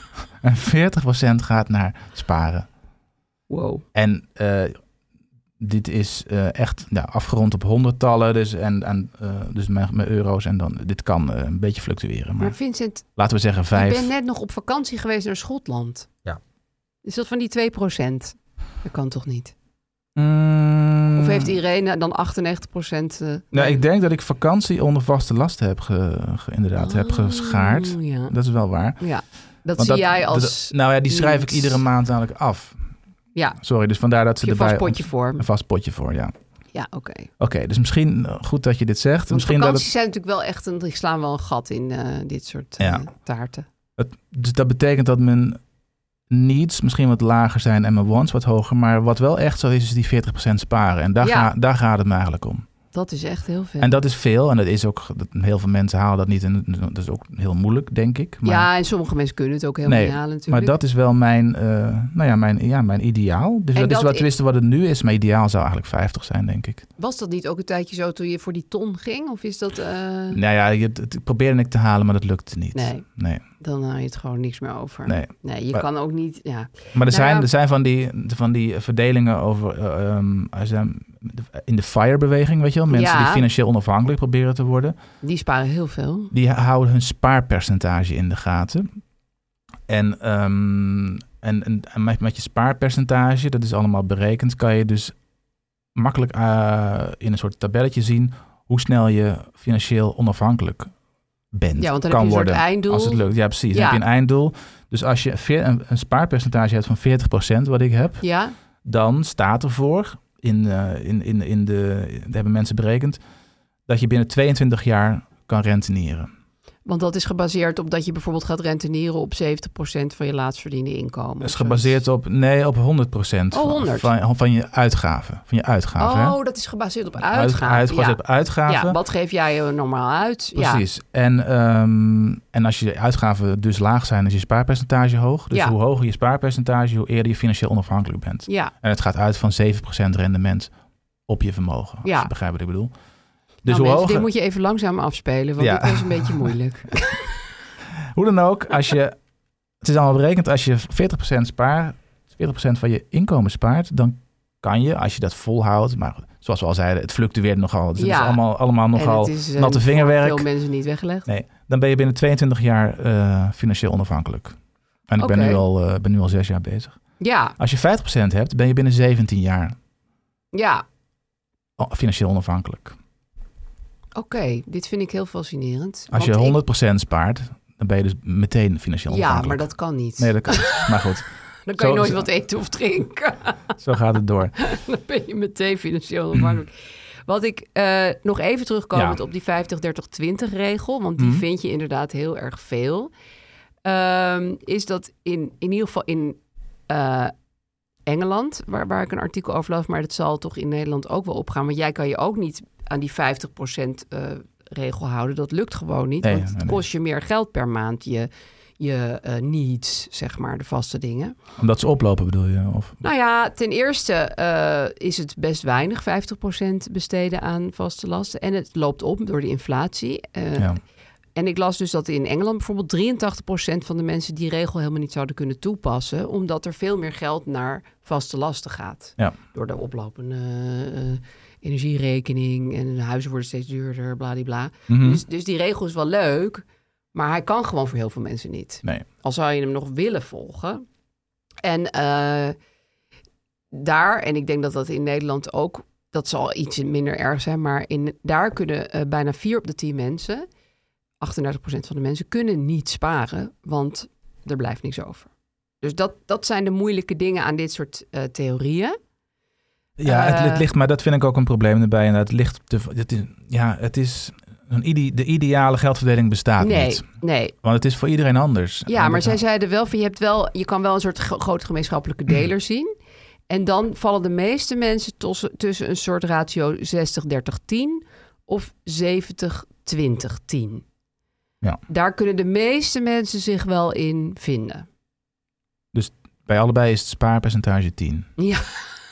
*laughs* en 40% gaat naar sparen. Wow. En eh, dit is eh, echt nou, afgerond op honderdtallen. Dus, en, en, eh, dus mijn, mijn euro's. En dan, dit kan eh, een beetje fluctueren. Maar Maar Vincent, laten we zeggen ik 5. ben net nog op vakantie geweest naar Schotland. Ja. Is dat van die 2%? Dat kan toch niet? Mm. Of heeft Irene dan 98%? eh, Nou, ik denk dat ik vakantie onder vaste lasten heb, ge, ge- inderdaad, heb Oh, geschaard. Ja. Dat is wel waar. Dat zie Want dat- jij als dat- nou ja, die schrijf ik iets. iedere maand eigenlijk af. Ja. Sorry, dus vandaar dat ze je erbij... vast potje Een voor. vast potje voor, ja. Oké, Ja, oké. dus misschien eh, goed dat je dit zegt. Want misschien vakanties dat het, zijn natuurlijk wel echt een... Die slaan wel een gat in eh, dit soort eh, Ja. taarten. het- dus dat betekent dat mijn needs misschien wat lager zijn en mijn wants wat hoger. Maar wat wel echt zo is, is die 40% sparen. En daar, Ja. ga- daar gaat het me eigenlijk om. Dat is echt heel veel. En dat is veel en dat is ook... Dat, heel veel mensen halen dat niet en dat is ook heel moeilijk, denk ik. Maar, ja, en sommige mensen kunnen het ook helemaal Nee, niet halen natuurlijk. maar dat is wel mijn, eh, nou ja, mijn, ja, mijn ideaal. Dus En dat, dat is wat, i- tenminste wat het nu is. Mijn ideaal zou eigenlijk 50 zijn, denk ik. Was dat niet ook een tijdje zo toen je voor die ton ging? Of is dat... eh, Nou ja, je- het het probeerde ik te halen, maar dat lukte niet. Nee. nee, Dan hou je het gewoon niks meer over. nee. Nee, je Maar- kan ook niet... Ja. Maar er Nou zijn, ja. er zijn van, die, van die verdelingen over eh, ehm, er zijn in de FIRE-beweging, weet je wel. Mensen Ja. die financieel onafhankelijk proberen te worden. Die sparen heel veel. Die houden hun spaarpercentage in de gaten. En, ehm, en, en, en met, met je spaarpercentage, dat is allemaal berekend, kan je dus makkelijk eh, in een soort tabelletje zien hoe snel je financieel onafhankelijk bent. Ja, want dan kan heb je een worden. soort einddoel. Als het lukt, ja precies. Dan Ja. heb je een einddoel. Dus als je veer- een, een spaarpercentage hebt van 40%, wat ik heb, Ja, dan staat ervoor, in, eh, in, in, in de, dat hebben mensen berekend, dat je binnen 22 jaar kan rentenieren. want dat is gebaseerd op dat je bijvoorbeeld gaat rentenieren op 70% van je laatst verdiende inkomen. Dat is of gebaseerd op, nee, op 100% Oh, 100. Van, van, van je uitgaven. Van je uitgaven, hè? zoiets. Oh, dat is gebaseerd op Uit- uitgaven. uit- gebaseerd op ja. uitgaven. ja, wat geef jij er normaal uit? Ja. Precies. En, ehm, en als je uitgaven dus laag zijn, is je spaarpercentage hoog. Dus Ja. hoe hoger je spaarpercentage, hoe eerder je financieel onafhankelijk bent. Ja, En het gaat uit van 7% rendement op je vermogen. Als Ja. je begrijpt wat ik bedoel. Dus dus nou, hoe, mensen, hoger, dit moet je even langzaam afspelen, want Ja. dit was een beetje *laughs* moeilijk. hoe dan ook, als *laughs* je, het is allemaal berekend, als je 40% spaart, 40% van je inkomen spaart, dan kan je, als je dat volhoudt, maar zoals we al zeiden, het fluctueert nogal. Dus het Ja. is allemaal, allemaal nogal, en het is eh, natte voor vingerwerk. veel mensen niet weggelegd. nee, dan ben je binnen 22 jaar eh, financieel onafhankelijk. En ik ben, Oké. nu al, eh, ben nu al zes jaar bezig. Ja, Als je 50% hebt, ben je binnen 17 jaar ja. al- financieel onafhankelijk. Oké, dit vind ik heel fascinerend. Als want ik- je 100% spaart, dan ben je dus meteen financieel Ja, maar onafhankelijk. dat kan niet. Nee, dat kan niet. Maar goed, Dan kan je Zo- nooit zo- wat eten of drinken. *laughs* zo gaat het door. Dan ben je meteen financieel onafhankelijk. Wat ik eh, nog even terugkomend Ja. op die 50-30-20 regel, want die Mhm. vind je inderdaad heel erg veel, ehm, is dat in, in ieder geval in eh, Engeland, waar, waar ik een artikel over las, maar dat zal toch in Nederland ook wel opgaan. Want jij kan je ook niet aan die 50% eh, regel houden. Dat lukt gewoon niet, Nee, want het nee, nee. kost je meer geld per maand, je, je eh, needs, zeg maar, de vaste dingen. Omdat ze oplopen bedoel je? Of... Nou ja, ten eerste eh, is het best weinig, 50% besteden aan vaste lasten. En het loopt op door de inflatie. Eh, ja. En ik las dus dat in Engeland bijvoorbeeld 83% van de mensen die regel helemaal niet zouden kunnen toepassen, omdat er veel meer geld naar vaste lasten gaat. Ja. Door de oplopende eh, energierekening en huizen worden steeds duurder, bladibla. Mhm. Dus, dus die regel is wel leuk, maar hij kan gewoon voor heel veel mensen niet. Nee. Al zou je hem nog willen volgen. En eh, daar, en ik denk dat dat in Nederland ook, dat zal iets minder erg zijn, maar in, daar kunnen eh, bijna vier op de tien mensen, 38% van de mensen, kunnen niet sparen, want er blijft niks over. Dus dat, dat zijn de moeilijke dingen aan dit soort eh, theorieën. Ja, het, het Eh. ligt, maar dat vind ik ook een probleem erbij. En het ligt te, het is, ja, het is een ide, de ideale geldverdeling bestaat nee, niet. nee, Want het is voor iedereen anders. Ja, En maar dat- zij zeiden wel van je, hebt wel, je kan wel een soort gro- grote gemeenschappelijke Mhm. deler zien. En dan vallen de meeste mensen tussen, tussen een soort ratio 60-30-10 of 70-20-10. Ja. Daar kunnen de meeste mensen zich wel in vinden. Bij allebei is het spaarpercentage 10. *laughs*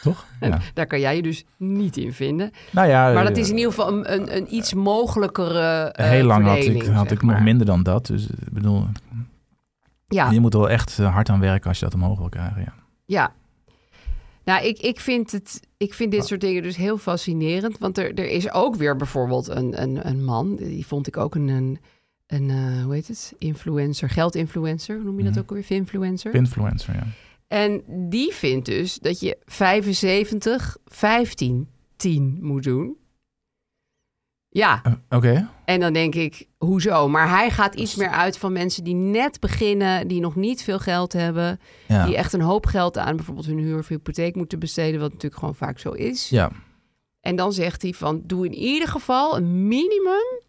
Ja. Toch? Ja. Daar kan jij je dus niet in vinden. Nou ja, Maar dat eh, is in ieder geval een, een, een iets mogelijkere eh, heel lang had ik, verdeling, had zeg ik nog maar. minder dan dat. Dus eh, ik bedoel, Ja, je moet er wel echt eh, hard aan werken als je dat omhoog wil krijgen. Ja. Ja. Nou, ik, ik, vind het, ik vind dit soort dingen dus heel fascinerend. Want er, er is ook weer bijvoorbeeld een, een, een man. Die vond ik ook een, een, een eh, hoe heet het? Influencer, geldinfluencer. Hoe noem je dat ook weer? Influencer. Influencer, ja. En die vindt dus dat je 75, 15, 10 moet doen. Ja, Eh, Oké. en dan denk ik, hoezo? Maar hij gaat iets meer uit van mensen die net beginnen, die nog niet veel geld hebben Ja. die echt een hoop geld aan bijvoorbeeld hun huur of hypotheek moeten besteden, wat natuurlijk gewoon vaak zo is. ja. En dan zegt hij van, doe in ieder geval een minimum.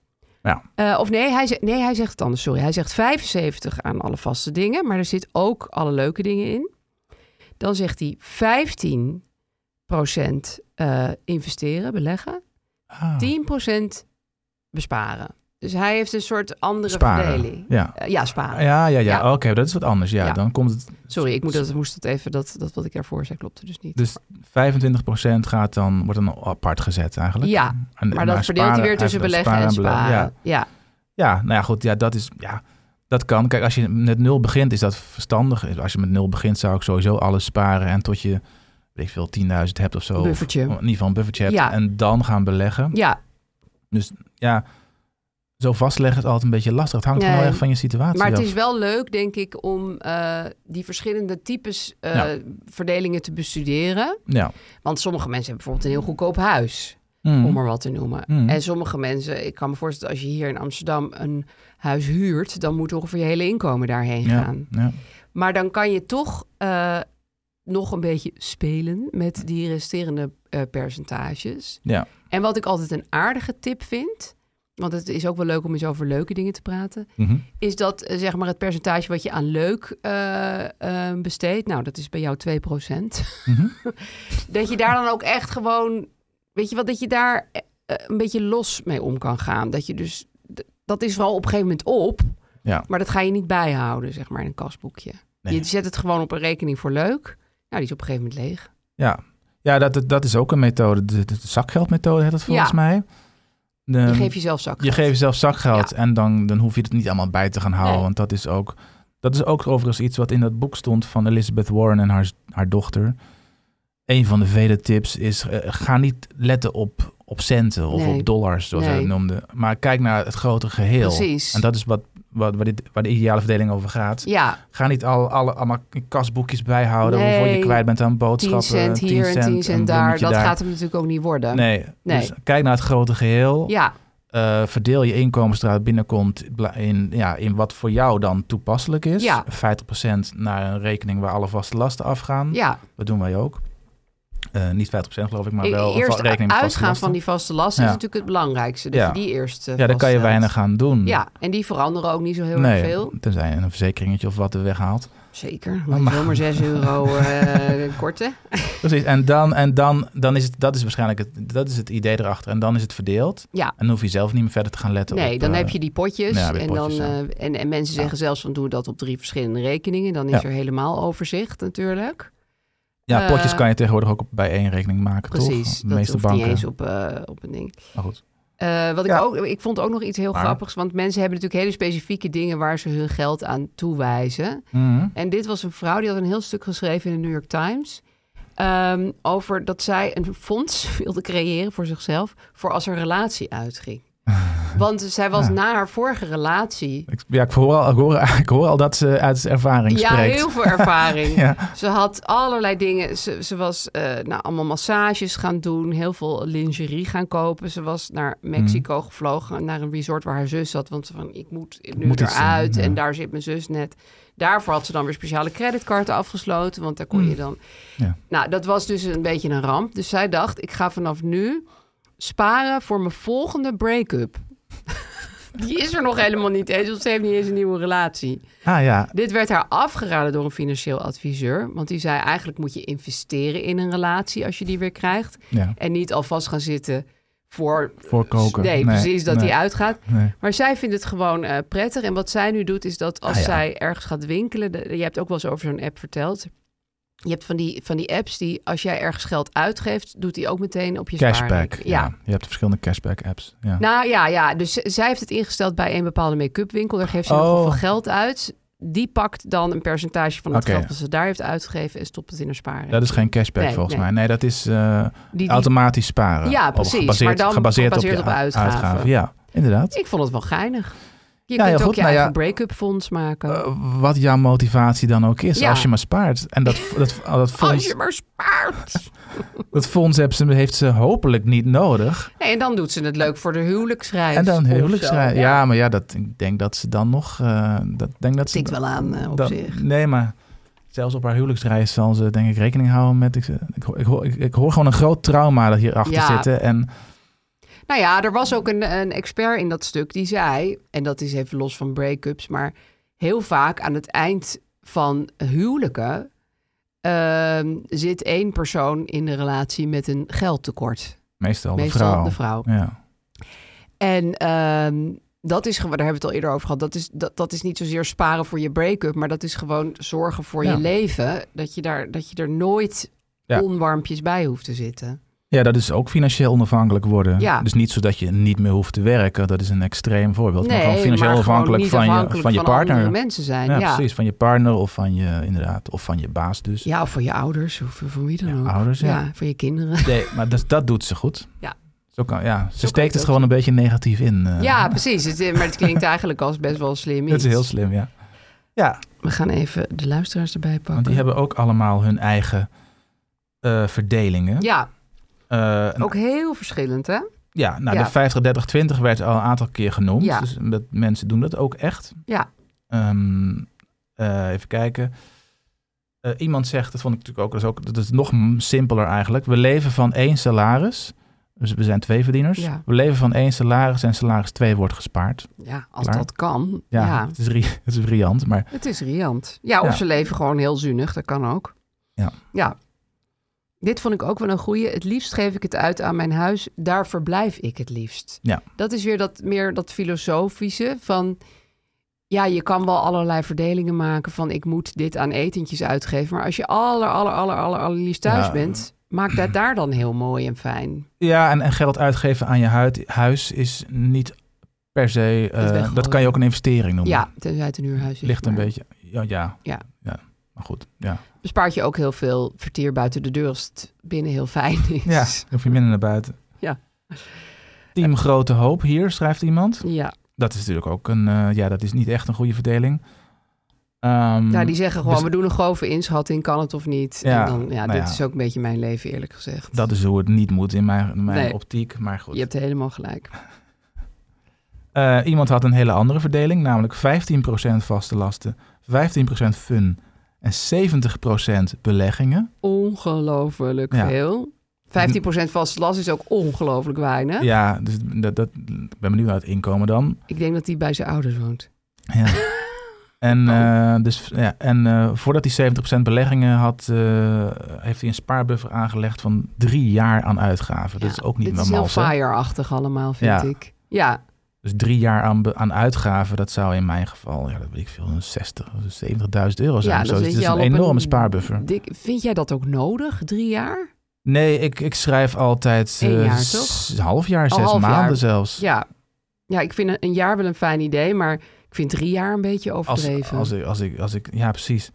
Ja. Eh, of nee hij, zegt, nee, hij zegt het anders, sorry. Hij zegt 75 aan alle vaste dingen, maar er zit ook alle leuke dingen in. Dan zegt hij 15 eh, investeren, beleggen, Ah, 10 besparen. Dus hij heeft een soort andere sparen. verdeling. Ja. Ah, Eh, ja, sparen. Ja, ja, ja. Ja. Oké, dat is wat anders. Ja, Ja. dan komt het. Sorry, ik moet dat, moest dat even, dat, dat wat ik daarvoor zei klopte dus niet. Dus 25% gaat dan, wordt dan apart gezet eigenlijk. Ja, En- Maar dat verdeelt hij sparen- weer tussen verdeelt beleggen en sparen. Ja. Ja. ja, nou ja, goed. Ja, dat is. Ja, dat kan. Kijk, als je met nul begint, is dat verstandig. Als je met nul begint, zou ik sowieso alles sparen. En tot je, weet ik veel, 10.000 hebt of zo. Of Buffertje. in ieder geval een buffertje hebt. Ja. En dan gaan beleggen. ja, Ja, zo vastleggen is altijd een beetje lastig. Het hangt Nee. heel erg van je situatie maar het af. is wel leuk, denk ik, om eh, die verschillende types eh, Ja. verdelingen te bestuderen. Ja. Want sommige mensen hebben bijvoorbeeld een heel goedkoop huis, Mm. om maar wat te noemen. Mm. En sommige mensen, ik kan me voorstellen, als je hier in Amsterdam een huis huurt, dan moet ongeveer je hele inkomen daarheen ja. gaan. ja. Maar dan kan je toch eh, nog een beetje spelen met die resterende eh, percentages. Ja. En wat ik altijd een aardige tip vind, want het is ook wel leuk om eens over leuke dingen te praten. Mhm. is dat eh, zeg maar het percentage wat je aan leuk eh, eh, besteedt. Nou, dat is bij jou 2%. Mhm. *laughs* dat je daar dan ook echt gewoon, weet je wat, dat je daar eh, eh, een beetje los mee om kan gaan. Dat je dus, d- dat is wel op een gegeven moment op, Ja. maar dat ga je niet bijhouden, zeg maar, in een kasboekje. Nee. Je zet het gewoon op een rekening voor leuk. Nou, die is op een gegeven moment leeg. Ja, ja dat, dat, dat is ook een methode. De, de- de zakgeldmethode heet dat volgens Ja. mij. De- Je geeft jezelf zakken. Ehm, je geeft zelf zakgeld en dan, dan hoef je het niet allemaal bij te gaan houden. Nee. Want dat is ook. Dat is ook overigens iets wat in dat boek stond van Elizabeth Warren en haar, haar dochter. Een van de vele tips is: eh, ga niet letten op, op centen of Nee. op dollars, zoals hij Nee. het noemde. Maar kijk naar het grote geheel. Precies. En dat is wat, wat, waar dit, waar de ideale verdeling over gaat. Ja, Ga niet al, alle, allemaal kasboekjes bijhouden. Nee. Hoeveel je kwijt bent aan 10 boodschappen. cent hier en 10 een cent daar. bloemetje Dat gaat hem natuurlijk ook niet worden. Nee, Nee. dus kijk naar het grote geheel. Ja, Eh, verdeel je inkomens eruit binnenkomt bla- in, ja, in wat voor jou dan toepasselijk is. Ja. 50% naar een rekening waar alle vaste lasten afgaan. ja. Dat doen wij ook. Eh, niet 50% geloof ik, maar wel een va- E, eerst rekening met vaste uitgaan lasten. van die vaste lasten Ja. is natuurlijk het belangrijkste. Dat Ja. je die eerst eh, ja, daar kan je vaststelt. weinig aan doen. Ja, en die veranderen ook niet zo heel nee, erg veel. tenzij je een verzekeringetje of wat er weghaalt. Zeker, Oh, Maar- maar zomaar 6 euro *laughs* eh korten. Precies, en dan, en dan, dan is het, dat is waarschijnlijk het, dat is het idee erachter. En dan is het verdeeld. Ja. En dan hoef je zelf niet meer verder te gaan letten Nee, op, dan eh, heb je die potjes. ja, weer en, potjes, dan, ja. eh, en, en mensen zeggen zelfs van doe dat op drie verschillende rekeningen. Dan is Ja. er helemaal overzicht natuurlijk. Ja, potjes Eh, kan je tegenwoordig ook op- bij één rekening maken, Precies, toch? De dat meeste hoeft banken. niet eens op, eh, op een ding. Maar goed. Eh, wat Ja. ik, ook, ik vond ook nog iets heel Maar- grappigs. Want mensen hebben natuurlijk hele specifieke dingen waar ze hun geld aan toewijzen. Mhm. En dit was een vrouw die had een heel stuk geschreven in de New York Times. Eh, ehm, over dat zij een fonds *laughs* wilde creëren voor zichzelf voor als een relatie uitging. Want zij was na haar vorige relatie Ik, ja, ik hoor, al, ik, hoor, *laughs* ik hoor al dat ze uit ervaring ja, spreekt. heel veel ervaring. *laughs* Ja. Ze had allerlei dingen. Ze, ze was eh, nou, allemaal massages gaan doen, heel veel lingerie gaan kopen. Ze was naar Mexico gevlogen, naar een resort waar haar zus zat. Want ze van, ik moet nu Moet iets zijn, eruit ja. en daar zit mijn zus net. Daarvoor had ze dan weer speciale creditcarden afgesloten, want daar kon je dan... Ja. Nou, dat was dus een beetje een ramp. Dus zij dacht, ik ga vanaf nu sparen voor mijn volgende break-up. *laughs* Die is er nog helemaal niet eens, want ze heeft niet eens een nieuwe relatie. Ah ja, Dit werd haar afgeraden door een financieel adviseur. Want die zei eigenlijk moet je investeren in een relatie als je die weer krijgt. ja. En niet alvast gaan zitten voor... voor koken. Nee, precies, dat nee, die uitgaat. nee. Maar zij vindt het gewoon eh, prettig. En wat zij nu doet is dat als Ah, ja. zij ergens gaat winkelen... de- je hebt ook wel eens over zo'n app verteld... Je hebt van die, van die apps die, als jij ergens geld uitgeeft, doet die ook meteen op je Cashback, ja. spaarrekening. Ja. Je hebt verschillende cashback apps. Ja. Nou ja, ja, dus z- zij heeft het ingesteld bij een bepaalde make-up winkel. Daar geeft ze Oh. nogal veel geld uit. Die pakt dan een percentage van het Oké. geld dat ze daar heeft uitgegeven en stopt het in haar spaarrekening. dat is geen cashback Nee, volgens nee. mij. Nee, dat is eh, Die- die- automatisch sparen. Ja, Of precies, maar dan gebaseerd je op uitgaven. Ja, inderdaad. Ik vond het wel geinig. Je Ja, heel kunt ook goed. je Nou ja, eigen break-up fonds maken. Eh, wat jouw motivatie dan ook is, Ja. als je maar spaart. *laughs* En dat, dat, dat, Als fonds, je maar spaart. dat fonds heeft ze, heeft ze hopelijk niet nodig. Nee, en dan doet ze het leuk voor de huwelijksreis. En dan of huwelijksreis. zo. Ja. maar ja, dat, ik denk dat ze dan nog... eh, dat, ik denk dat ze Tikt wel aan eh, op dat- zich. Nee, maar zelfs op haar huwelijksreis zal ze denk ik rekening houden met... Ik, ik, hoor- ik, hoor- ik, ik hoor gewoon een groot trauma dat hierachter Ja. zitten. En Nou ja, er was ook een, een expert in dat stuk die zei, en dat is even los van break-ups, maar heel vaak aan het eind van huwelijken ehm, zit één persoon in de relatie met een geldtekort. meestal, de Meestal vrouw. de vrouw. Ja. En ehm, dat is gewoon, daar hebben we het al eerder over gehad, dat is, dat, dat is niet zozeer sparen voor je break-up, maar dat is gewoon zorgen voor Ja. je leven, dat je, daar, dat je er nooit Ja. onwarmpjes bij hoeft te zitten. ja, dat is ook financieel onafhankelijk worden. Ja. Dus niet zodat je niet meer hoeft te werken. Dat is een extreem voorbeeld. maar gewoon financieel maar gewoon afhankelijk, niet van, je, afhankelijk van je andere partner. mensen zijn. Ja, ja. precies. Van je partner of van je, inderdaad, of van je baas dus. Ja, of voor je ouders of voor wie dan Ja, ook. ouders, ja. voor je kinderen. Nee, maar dat, dat doet ze goed. Ja. Zo kan, ja. Ze kan steekt het het ook. gewoon een beetje negatief in. eh. Ja, precies. Het, maar het klinkt eigenlijk als best wel slim. Dat is iets. heel slim, ja. Ja, We gaan even de luisteraars erbij pakken. want die hebben ook allemaal hun eigen eh, verdelingen. Eh, Ja, Ja, ook heel verschillend, hè? ja nou, ja. de 50, 30, 20 werd al een aantal keer genoemd. Ja. Dus dat, mensen doen dat ook echt. Ja. Ehm, eh, even kijken. Eh, iemand zegt, dat vond ik natuurlijk ook, dat is, ook, dat is nog m- simpeler eigenlijk. We leven van één salaris. Dus we zijn twee verdieners. Ja. We leven van één salaris en salaris 2 wordt gespaard. Ja, als Klaar. dat kan. Ja, Ja. Het, is ri- *laughs* het is briljant, maar Het is riant. Ja, of Ja. ze leven gewoon heel zuinig. Dat kan ook. Ja. Ja. Dit vond ik ook wel een goeie. Het liefst geef ik het uit aan mijn huis. Daar verblijf ik het liefst. Ja. Dat is weer dat, meer dat filosofische van... Ja, je kan wel allerlei verdelingen maken van... ik moet dit aan etentjes uitgeven. Maar als je aller, aller, aller, aller, allerliefst thuis Ja. bent... maak dat daar dan heel mooi en fijn. Ja, en, en geld uitgeven aan je huid- huis is niet per se. eh, weggooien. dat kan je ook een investering noemen. Ja, tenzij het een huurhuis is. Ligt een maar beetje. Ja, ja. Ja. Maar goed, ja. Bespaart je ook heel veel vertier buiten de deur... als het binnen heel fijn is. Ja, dan hoef je minder naar buiten. Ja. Team Grote Hoop hier, schrijft iemand. ja. Dat is natuurlijk ook een. eh, ja, dat is niet echt een goede verdeling. Ehm, Ja, die zeggen gewoon, dus- we doen een grove inschatting, kan het of niet. Ja, en dan, ja, nou dit ja. is ook een beetje mijn leven, eerlijk gezegd. Dat is hoe het niet moet in mijn, in mijn Nee. optiek. Maar goed. Je hebt helemaal gelijk. Eh, iemand had een hele andere verdeling, namelijk 15% vaste lasten, 15% fun en 70% beleggingen. Ongelooflijk Ja. veel. 15% vast last is ook ongelooflijk weinig. Ja, dus dat, dat, ik ben benieuwd naar het inkomen dan. Ik denk dat hij bij zijn ouders woont. *laughs* Ja. En, Oh. eh, dus, ja, en eh, voordat hij 70% beleggingen had, eh, heeft hij een spaarbuffer aangelegd van drie jaar aan uitgaven. dat is ook niet Dit is heel normaal. hè? fire-achtig allemaal, vind Ja. ik. Ja, Dus drie jaar aan, be- aan uitgaven, dat zou in mijn geval, ja, dat weet ik veel, een 60, of 70.000 euro zijn. ja of zo. Dus zit het is je al op een enorme spaarbuffer. dik- vind jij dat ook nodig, drie jaar? Nee, ik, ik schrijf altijd Eén eh, jaar, s- toch? half jaar, Al zes half jaar. maanden zelfs. Ja. ja, ik vind een, een jaar wel een fijn idee, maar ik vind drie jaar een beetje als, overdreven. als, ik, als, ik, als ik, ja precies.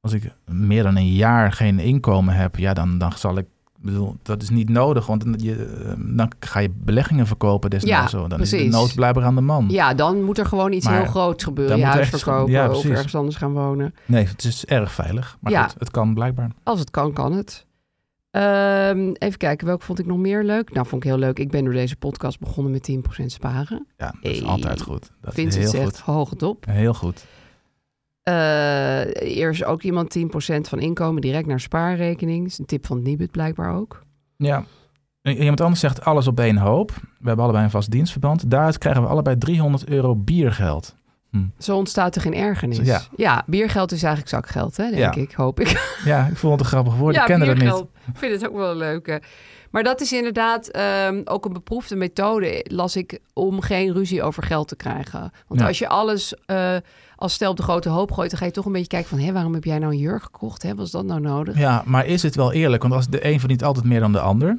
als ik meer dan een jaar geen inkomen heb, ja, dan, dan zal ik. ik Bedoel, dat is niet nodig, want dan- je, eh, dan ga je beleggingen verkopen desnoods. Ja, zo. Dan is de precies. nood blijkbaar aan de man. Ja, dan moet er gewoon iets Maar heel groots gebeuren. dan Je moet er huis echt- verkopen ja, of precies. ergens anders gaan wonen. Nee, het is erg veilig. Maar Ja. goed, het kan blijkbaar. Als het kan, kan het. Ehm, even kijken, welke vond ik nog meer leuk? Nou, vond ik heel leuk. Ik ben door deze podcast begonnen met 10% sparen. Ja, dat is Hey, altijd goed. Dat is Vincent heel zegt, goed. hoge dop. Heel goed. Eh, er is ook iemand 10% van inkomen direct naar spaarrekening. Is een tip van Nibud blijkbaar ook. Ja. I- Iemand anders zegt alles op één hoop. We hebben allebei een vast dienstverband. Daaruit krijgen we allebei 300 euro biergeld. Zo ontstaat er geen ergernis. Ja. biergeld is eigenlijk zakgeld, hè, denk Ja. ik, hoop ik. Ja, ik vond het een grappig woord. ik kende dat niet. Ik vind het ook wel leuk. hè. Maar dat is inderdaad ehm, ook een beproefde methode, las ik, om geen ruzie over geld te krijgen. Want Ja. als je alles eh, als stel op de grote hoop gooit, dan ga je toch een beetje kijken van, hé, waarom heb jij nou een jurk gekocht? Hè? Was dat nou nodig? Ja, maar is het wel eerlijk? Want als de een verdient altijd meer dan de ander,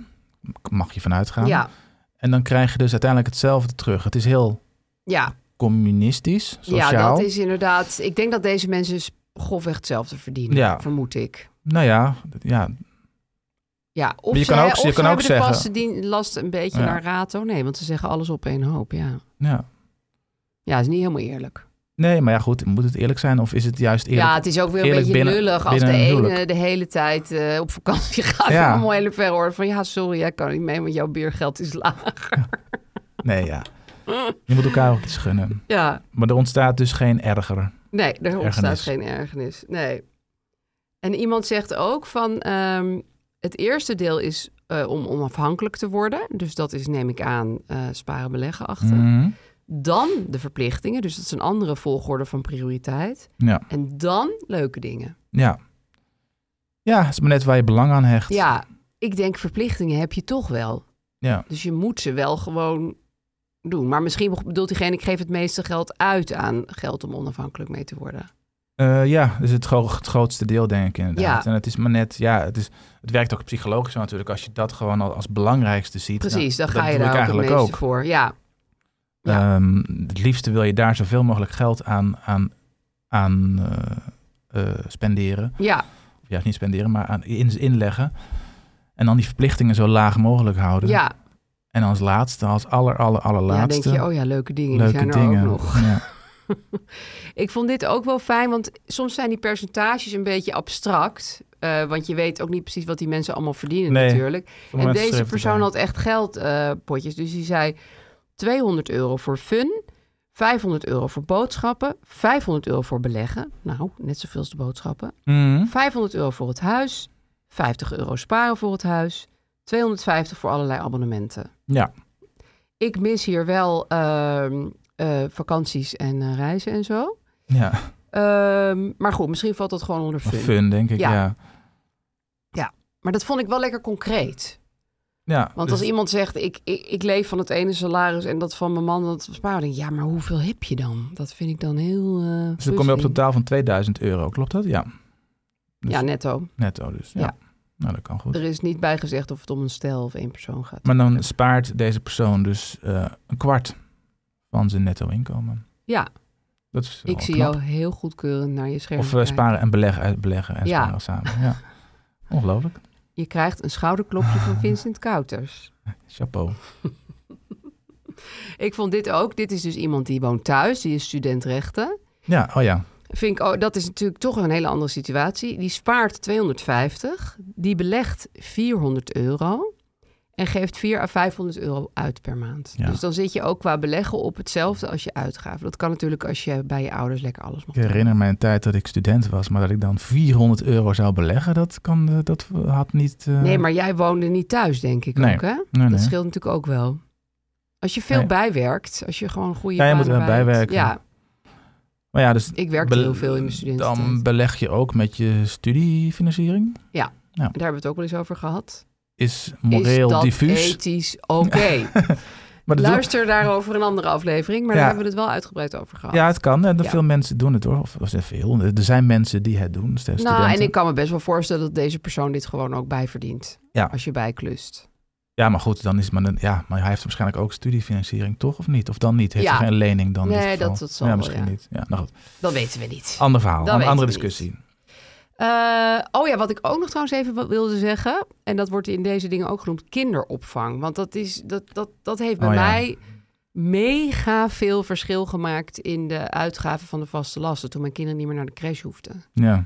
mag je vanuit gaan. ja, En dan krijg je dus uiteindelijk hetzelfde terug. Het is heel ja. communistisch, sociaal. Ja, dat is inderdaad. Ik denk dat deze mensen s- grofweg hetzelfde verdienen, Ja. vermoed ik. Nou ja, d- ja, Ja, of Maar je ze, kan ook- of je ze kan ook hebben de zeggen- vaste dien- last een beetje Ja. naar rato. Nee, want ze zeggen alles op één hoop. Ja, ja. ja is niet helemaal eerlijk. Nee, maar ja goed, moet het eerlijk zijn of is het juist eerlijk? ja, het is ook weer een eerlijk beetje binnen- lullig als de binnen een ene huwelijk. de hele tijd eh, op vakantie *laughs* gaat. Ja. Ja. Allemaal hele ver hoor. Van ja, sorry, jij kan niet mee, want jouw biergeld is laag. *laughs* Nee, ja. Je moet elkaar ook iets gunnen. Ja, Maar er ontstaat dus geen erger. nee, er ontstaat Ergernis. geen ergernis. Nee. En iemand zegt ook van ehm, het eerste deel is eh, om onafhankelijk te worden. Dus dat is, neem ik aan, eh, sparen beleggen achter. Mhm. Dan de verplichtingen. Dus dat is een andere volgorde van prioriteit. Ja. En dan leuke dingen. Ja. Ja, het is maar net waar je belang aan hecht. Ja, ik denk verplichtingen heb je toch wel. Ja. Dus je moet ze wel gewoon doen. Maar misschien bedoelt diegene, ik geef het meeste geld uit aan geld om onafhankelijk mee te worden. Eh, ja, dus het, gro- het grootste deel denk ik inderdaad. Ja. En het is maar net, ja, het, is, het werkt ook psychologisch zo natuurlijk. Als je dat gewoon al als belangrijkste ziet. Precies, dan dan ga je daar ook het meeste voor. Ja, Ja. Ehm, het liefste wil je daar zoveel mogelijk geld aan, aan, aan eh, eh, spenderen. ja. Of juist niet spenderen, maar aan in, inleggen. En dan die verplichtingen zo laag mogelijk houden. ja. En als laatste, als aller, aller, ja allerlaatste. denk je, oh ja, leuke dingen, leuke die zijn er dingen. ook nog. Ja. Ik vond dit ook wel fijn, want soms zijn die percentages een beetje abstract. eh, want je weet ook niet precies wat die mensen allemaal verdienen Nee. natuurlijk. *laughs* En Mensen deze schreven persoon erbij. had echt geldpotjes. dus die zei 200 euro voor fun, 500 euro voor boodschappen, 500 euro voor beleggen. Nou, net zoveel als de boodschappen. Mhm. 500 euro voor het huis, 50 euro sparen voor het huis, 250 voor allerlei abonnementen. Ja. Ik mis hier wel ehm, eh, vakanties en eh, reizen en zo. ja. Ehm, maar goed, misschien valt dat gewoon onder Of fun. fun, denk ik, ja. Ja. ja. Maar dat vond ik wel lekker concreet. Want als dus- iemand zegt, ik, ik, ik leef van het ene salaris en dat van mijn man, dat sparen. denk ik, Ja, maar hoeveel heb je dan? Dat vind ik dan heel... eh, Dus dan kom je op een puzzling. totaal van 2000 euro, klopt dat? Ja, dus- Ja, netto. netto dus. Ja. Ja. Dus- Nou, dat kan goed. Er is niet bij gezegd of het om een stel of één persoon gaat. Maar dan spaart deze persoon dus eh, een kwart van zijn netto inkomen. Ja, Dat is wel ik zie Oh, knap. jou heel goedkeurend naar je scherm Of eh, kijken. sparen en beleggen, uit beleggen en Ja. sparen samen. *laughs* Ja. Ongelooflijk. Je krijgt een schouderklopje *laughs* van Vincent Kouters. Chapeau. Ik vond dit ook. Dit is dus iemand die woont thuis. Die is student rechten. Ja, oh ja. Vind ik, oh, dat is natuurlijk toch een hele andere situatie. Die spaart 250, die belegt 400 euro en geeft 400 à 500 euro uit per maand. Ja. Dus dan zit je ook qua beleggen op hetzelfde als je uitgaven. Dat kan natuurlijk als je bij je ouders lekker alles mag Ik herinner mij een tijd dat ik student was, maar dat ik dan 400 euro zou beleggen, dat, kan, eh, dat had niet... eh, doen. Nee, maar jij woonde niet thuis, denk ik Nee. ook, hè? nee, nee. Dat scheelt natuurlijk ook wel. Als je veel Nee. bijwerkt, als je gewoon goede Ja, je moet banen erbij bijhoudt. werken. Ja, Maar ja, dus ik werkte Bel- heel veel in mijn studententijd. Dan beleg je ook met je studiefinanciering. Daar hebben we het ook wel eens over gehad. Is Is moreel dat diffuus. ethisch oké? *laughs* Maar dat doe- Luister daarover een andere aflevering, maar Ja. daar hebben we het wel uitgebreid over gehad. ja, het kan. En Ja. Veel mensen doen het hoor. Of, of zijn veel. Er zijn mensen die het doen. Studenten. nou, en ik kan me best wel voorstellen dat deze persoon dit gewoon ook bijverdient. Ja. Als je bijklust. Ja, maar goed, dan is het maar een, ja, maar hij heeft waarschijnlijk ook studiefinanciering, toch? Of niet? Of dan niet? Heeft Ja. hij geen lening dan? in Nee, dit geval? dat- dat zal Ja, wel, misschien ja. niet. Ja, nou goed. Dat weten we niet. Ander verhaal. Dat Een weten andere we niet. discussie. Eh, oh ja, wat ik ook nog trouwens even wat wilde zeggen. En dat wordt in deze dingen ook genoemd: kinderopvang. Want dat, is, dat, dat, dat heeft bij Oh ja. mij mega veel verschil gemaakt in de uitgaven van de vaste lasten. Toen mijn kinderen niet meer naar de crash hoefden. Ja.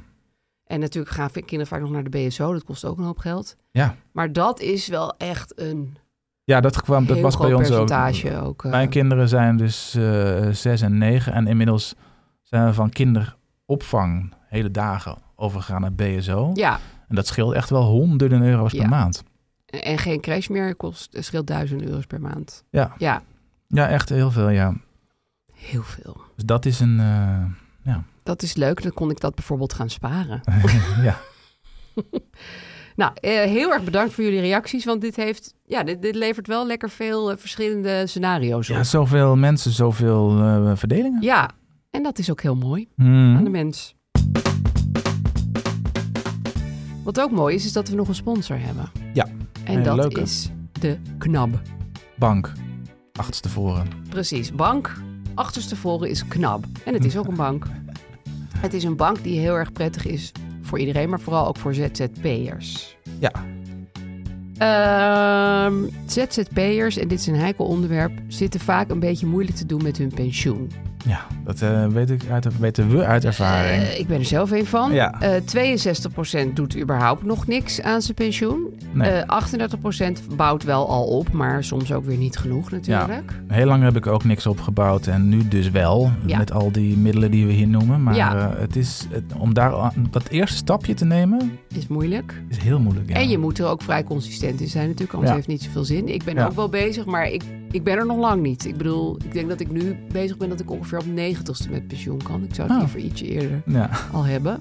En natuurlijk gaan kinderen vaak nog naar de BSO. Dat kost ook een hoop geld. Ja. Maar dat is wel echt een ja, dat kwam, dat heel was groot bij ons ook. percentage ook. eh. Mijn kinderen zijn dus eh, zes en negen. En inmiddels zijn we van kinderopvang hele dagen overgegaan naar BSO. ja, En dat scheelt echt wel honderden euro's Ja. per maand. en- en geen crash meer kost, scheelt duizend euro's per maand. Ja. Ja, Ja, echt heel veel, ja. heel veel. Dus dat is een... eh, *laughs* Dat is leuk, dan kon ik dat bijvoorbeeld gaan sparen. ja. Nou, eh, heel erg bedankt voor jullie reacties, want dit, heeft, ja, dit, dit levert wel lekker veel eh, verschillende scenario's op. ja, zoveel mensen, zoveel eh, verdelingen. Ja, en dat is ook heel mooi Hmm. aan de mens. Wat ook mooi is, is dat we nog een sponsor hebben. Ja, En een dat leuke. is de KNAB. Bank, achterstevoren. Precies, bank achterstevoren is KNAB. En het is ook een bank. Het is een bank die heel erg prettig is voor iedereen, maar vooral ook voor ZZP'ers. Ja, Ehm, ZZP'ers, en dit is een heikel onderwerp, zitten vaak een beetje moeilijk te doen met hun pensioen. ja dat eh, weet ik uit, weten we uit ervaring. Eh, ik ben er zelf een van. Ja. Eh, 62% doet überhaupt nog niks aan zijn pensioen. Nee. Eh, 38% bouwt wel al op, maar soms ook weer niet genoeg natuurlijk. Heel lang heb ik ook niks opgebouwd en nu dus wel. Ja. Met al die middelen die we hier noemen. Maar Ja. eh, het is, het- om daar aan- dat eerste stapje te nemen Is moeilijk. is heel moeilijk. Ja. En je moet er ook vrij consistent in zijn natuurlijk, anders Ja. heeft het niet zoveel zin. Ik ben Ja. ook wel bezig, maar ik, ik ben er nog lang niet. Ik bedoel, ik denk dat ik nu bezig ben dat ik ongeveer op 90ste met pensioen kan. Ik zou het Oh. liever ietsje eerder Ja, al hebben.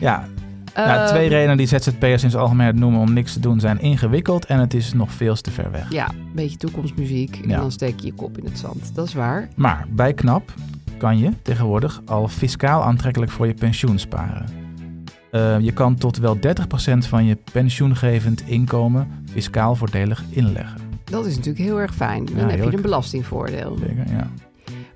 ja. Nou, Ehm, twee redenen die ZZP'ers in zijn algemeenheid noemen om niks te doen zijn ingewikkeld en het is nog veel te ver weg. Ja, een beetje toekomstmuziek. En Ja. dan steek je je kop in het zand. Dat is waar. Maar bij KNAP kan je tegenwoordig al fiscaal aantrekkelijk voor je pensioen sparen. Eh, je kan tot wel 30% van je pensioengevend inkomen fiscaal voordelig inleggen. Dat is natuurlijk heel erg fijn. Dan Ja, heb je heerlijk. een belastingvoordeel. Zeker, ja.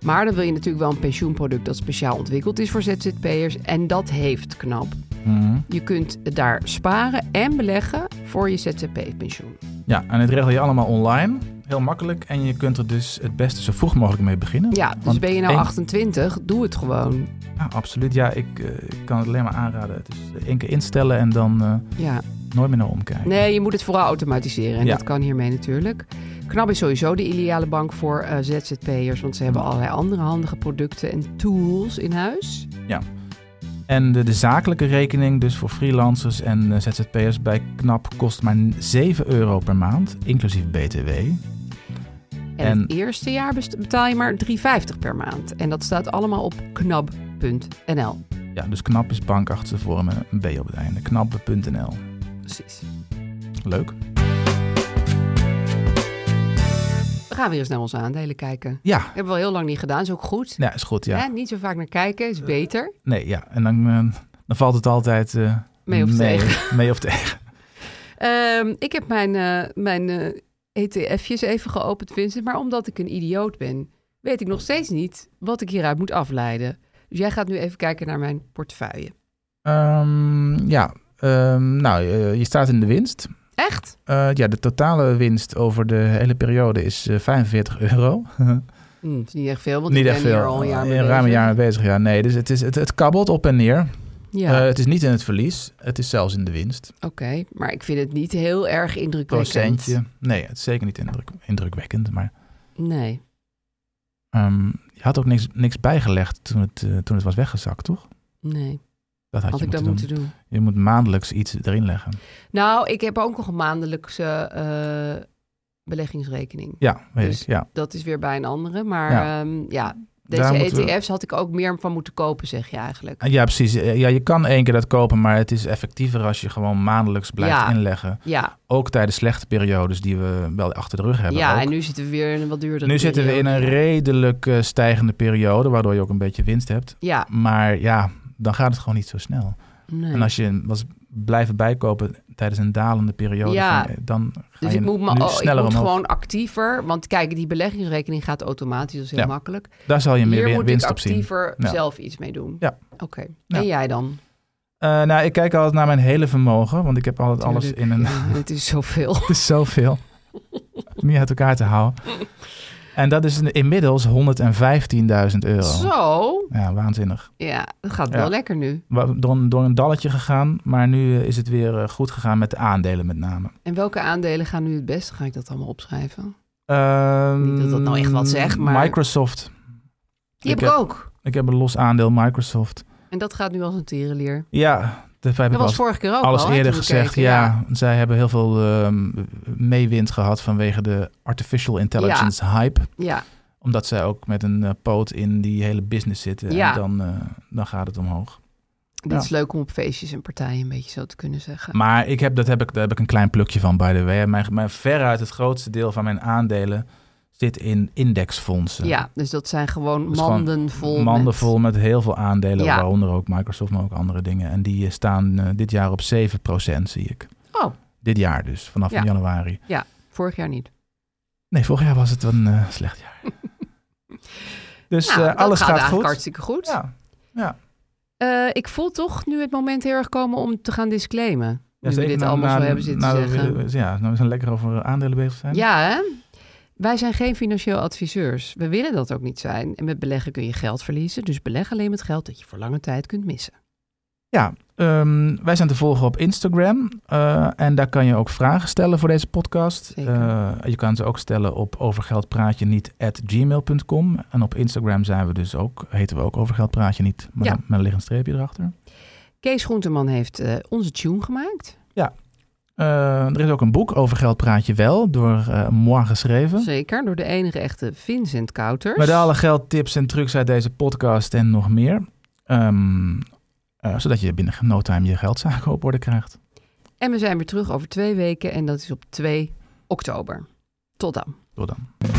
Maar dan wil je natuurlijk wel een pensioenproduct dat speciaal ontwikkeld is voor ZZP'ers. En dat heeft knap. Mhm. Je kunt daar sparen en beleggen voor je ZZP-pensioen. Ja, en het regel je allemaal online. Heel makkelijk. En je kunt er dus het beste zo vroeg mogelijk mee beginnen. Ja, dus Want ben je nou één- 28, doe het gewoon. Ja, absoluut. Ja, ik, eh, ik kan het alleen maar aanraden. Het is één keer instellen en dan eh, Ja. nooit meer naar omkijken. Nee, je moet het vooral automatiseren. En Ja. dat kan hiermee natuurlijk. Knap is sowieso de ideale bank voor eh, ZZP'ers. Want ze hebben allerlei andere handige producten en tools in huis. En de, de zakelijke rekening, dus voor freelancers en eh, ZZP'ers bij KNAP, kost maar 7 euro per maand, inclusief BTW. En, En- het eerste jaar best- betaal je maar 3,50 per maand. En dat staat allemaal op knab.nl. Ja, dus KNAP is bank achter voor een een B op het einde. KNAP.nl. Precies. Leuk. We gaan weer eens naar onze aandelen kijken. Ja, Hebben we al heel lang niet gedaan, is ook goed. ja is goed. Ja. Eh, Hè? Niet zo vaak naar kijken, is beter. Nee, ja. En dan, eh, dan valt het altijd eh, Mee of tegen. *laughs* Mee of tegen. Ehm, ik heb mijn, eh, mijn eh, ETF'jes even geopend, Vincent. Maar omdat ik een idioot ben, weet ik nog steeds niet wat ik hieruit moet afleiden. Dus jij gaat nu even kijken naar mijn portefeuille. Ehm, ja, Ehm, nou, eh, je staat in de winst. Echt? Eh, ja, de totale winst over de hele periode is eh, 45 euro. *laughs* Hm, dat is niet echt veel, want Niet ik echt ben veel. hier al een jaar mee ruim een bezig. jaar mee bezig, ja. Nee, dus het, is, het, het kabbelt op en neer. Ja. Eh, het is niet in het verlies. Het is zelfs in de winst. Oké, maar ik vind het niet heel erg indrukwekkend. Procentje. Nee, het is zeker niet indruk, indrukwekkend. Maar Nee. ehm, je had ook niks, niks bijgelegd toen het, eh, toen het was weggezakt, toch? Nee, Dat had, had je ik dat moeten moeten doen. doen. Je moet maandelijks iets erin leggen. Nou, ik heb ook nog een maandelijkse eh, beleggingsrekening. Ja, weet Dus ik. Ja. Dat is weer bij een andere. Maar ja, Ja. ja Daar deze moeten we- ETF's had ik ook meer van moeten kopen, zeg je eigenlijk. ja, precies. Eh, Ja, je kan één keer dat kopen, maar het is effectiever als je gewoon maandelijks blijft Ja. inleggen. Ja, Ook tijdens slechte periodes die we wel achter de rug hebben. ja ook. en nu zitten we weer in een wat duurdere Nu zitten we in een periode. redelijk eh, stijgende periode, waardoor je ook een beetje winst hebt. Ja, Maar ja, dan gaat het gewoon niet zo snel. nee. En als je was blijven bijkopen tijdens een dalende periode, Ja. van, eh, dan ga Dus je ik moet, me, nu oh, ik sneller moet omhoog. gewoon actiever. Want kijk, die beleggingsrekening gaat automatisch. Dat is heel Ja. makkelijk. Daar zal je meer Hier win- moet ik winst op zien. actiever Ja. zelf iets mee doen. Ja. Oké. *laughs* Ja. En jij dan? Eh, nou, ik kijk altijd naar mijn hele vermogen, want ik heb altijd alles *laughs* in een... *laughs* Ja, het is zoveel. Het is zoveel. Om je uit elkaar te houden. *laughs* En dat is inmiddels 115.000 euro. Zo. Ja, waanzinnig. Ja, dat gaat Ja. wel lekker nu. Wa- Door een, door een dalletje gegaan, maar nu eh, is het weer eh, goed gegaan met de aandelen met name. En welke aandelen gaan nu het beste? Ga ik dat allemaal opschrijven? Ehm, Niet dat dat nou echt wat zegt, maar- Microsoft. Die heb Ik ik heb- ook. Ik heb een los aandeel Microsoft. En dat gaat nu als een tierenlier. Ja, dat heb Dat ik al was vorige keer ook alles al, hè, eerder toen we gezegd. keken. ja. zij hebben heel veel ehm, meewind gehad vanwege de artificial intelligence hype. Ja. Omdat zij ook met een eh, poot in die hele business zitten. Ja. En dan, eh, dan gaat het omhoog. Dit Ja. is leuk om op feestjes en partijen een beetje zo te kunnen zeggen. Maar ik heb, dat heb ik, daar heb ik een klein plukje van, by the way. Mijn, mijn, veruit het grootste deel van mijn aandelen zit in indexfondsen. ja, dus dat zijn gewoon Dus gewoon manden vol. Manden met- vol met heel veel aandelen, Ja. waaronder ook Microsoft, maar ook andere dingen. En die eh, staan eh, dit jaar op 7%, zie ik. Oh. Dit jaar dus, vanaf Ja. januari. Vorig jaar niet. Nee, vorig jaar was het een eh, slecht *laughs* jaar. dus Nou, eh, dat alles gaat, gaat, eigenlijk goed. hartstikke goed. Ja. Eh, ik voel toch nu het moment heel erg komen om te gaan disclaimen. Ja, Nu we zeker dit na- allemaal na- zo hebben zitten nadat we- zeggen. ja, nou we zijn lekker over aandelen bezig zijn. Ja, hè? Wij zijn geen financieel adviseurs. We willen dat ook niet zijn. En met beleggen kun je geld verliezen. Dus beleg alleen met geld dat je voor lange tijd kunt missen. Ehm, wij zijn te volgen op Instagram. eh, en daar kan je ook vragen stellen voor deze podcast. Zeker. Eh, je kan ze ook stellen op overgeldpraatje niet at gmail.com. En op Instagram zijn we dus ook, heten we ook overgeldpraatje niet, maar Ja. dan met een liggend streepje erachter. Kees Groenteman heeft eh, onze tune gemaakt. Eh, er is ook een boek, Overgeldpraatje wel, door eh Moi geschreven. Zeker, door de enige echte Vincent Kouters. Met alle geldtips en trucs uit deze podcast en nog meer. Ehm, eh, zodat je binnen no time je geldzaken op orde krijgt. En we zijn weer terug over twee weken. En dat is op 2 oktober. Tot dan. Tot dan.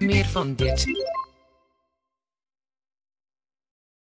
Meer van dit.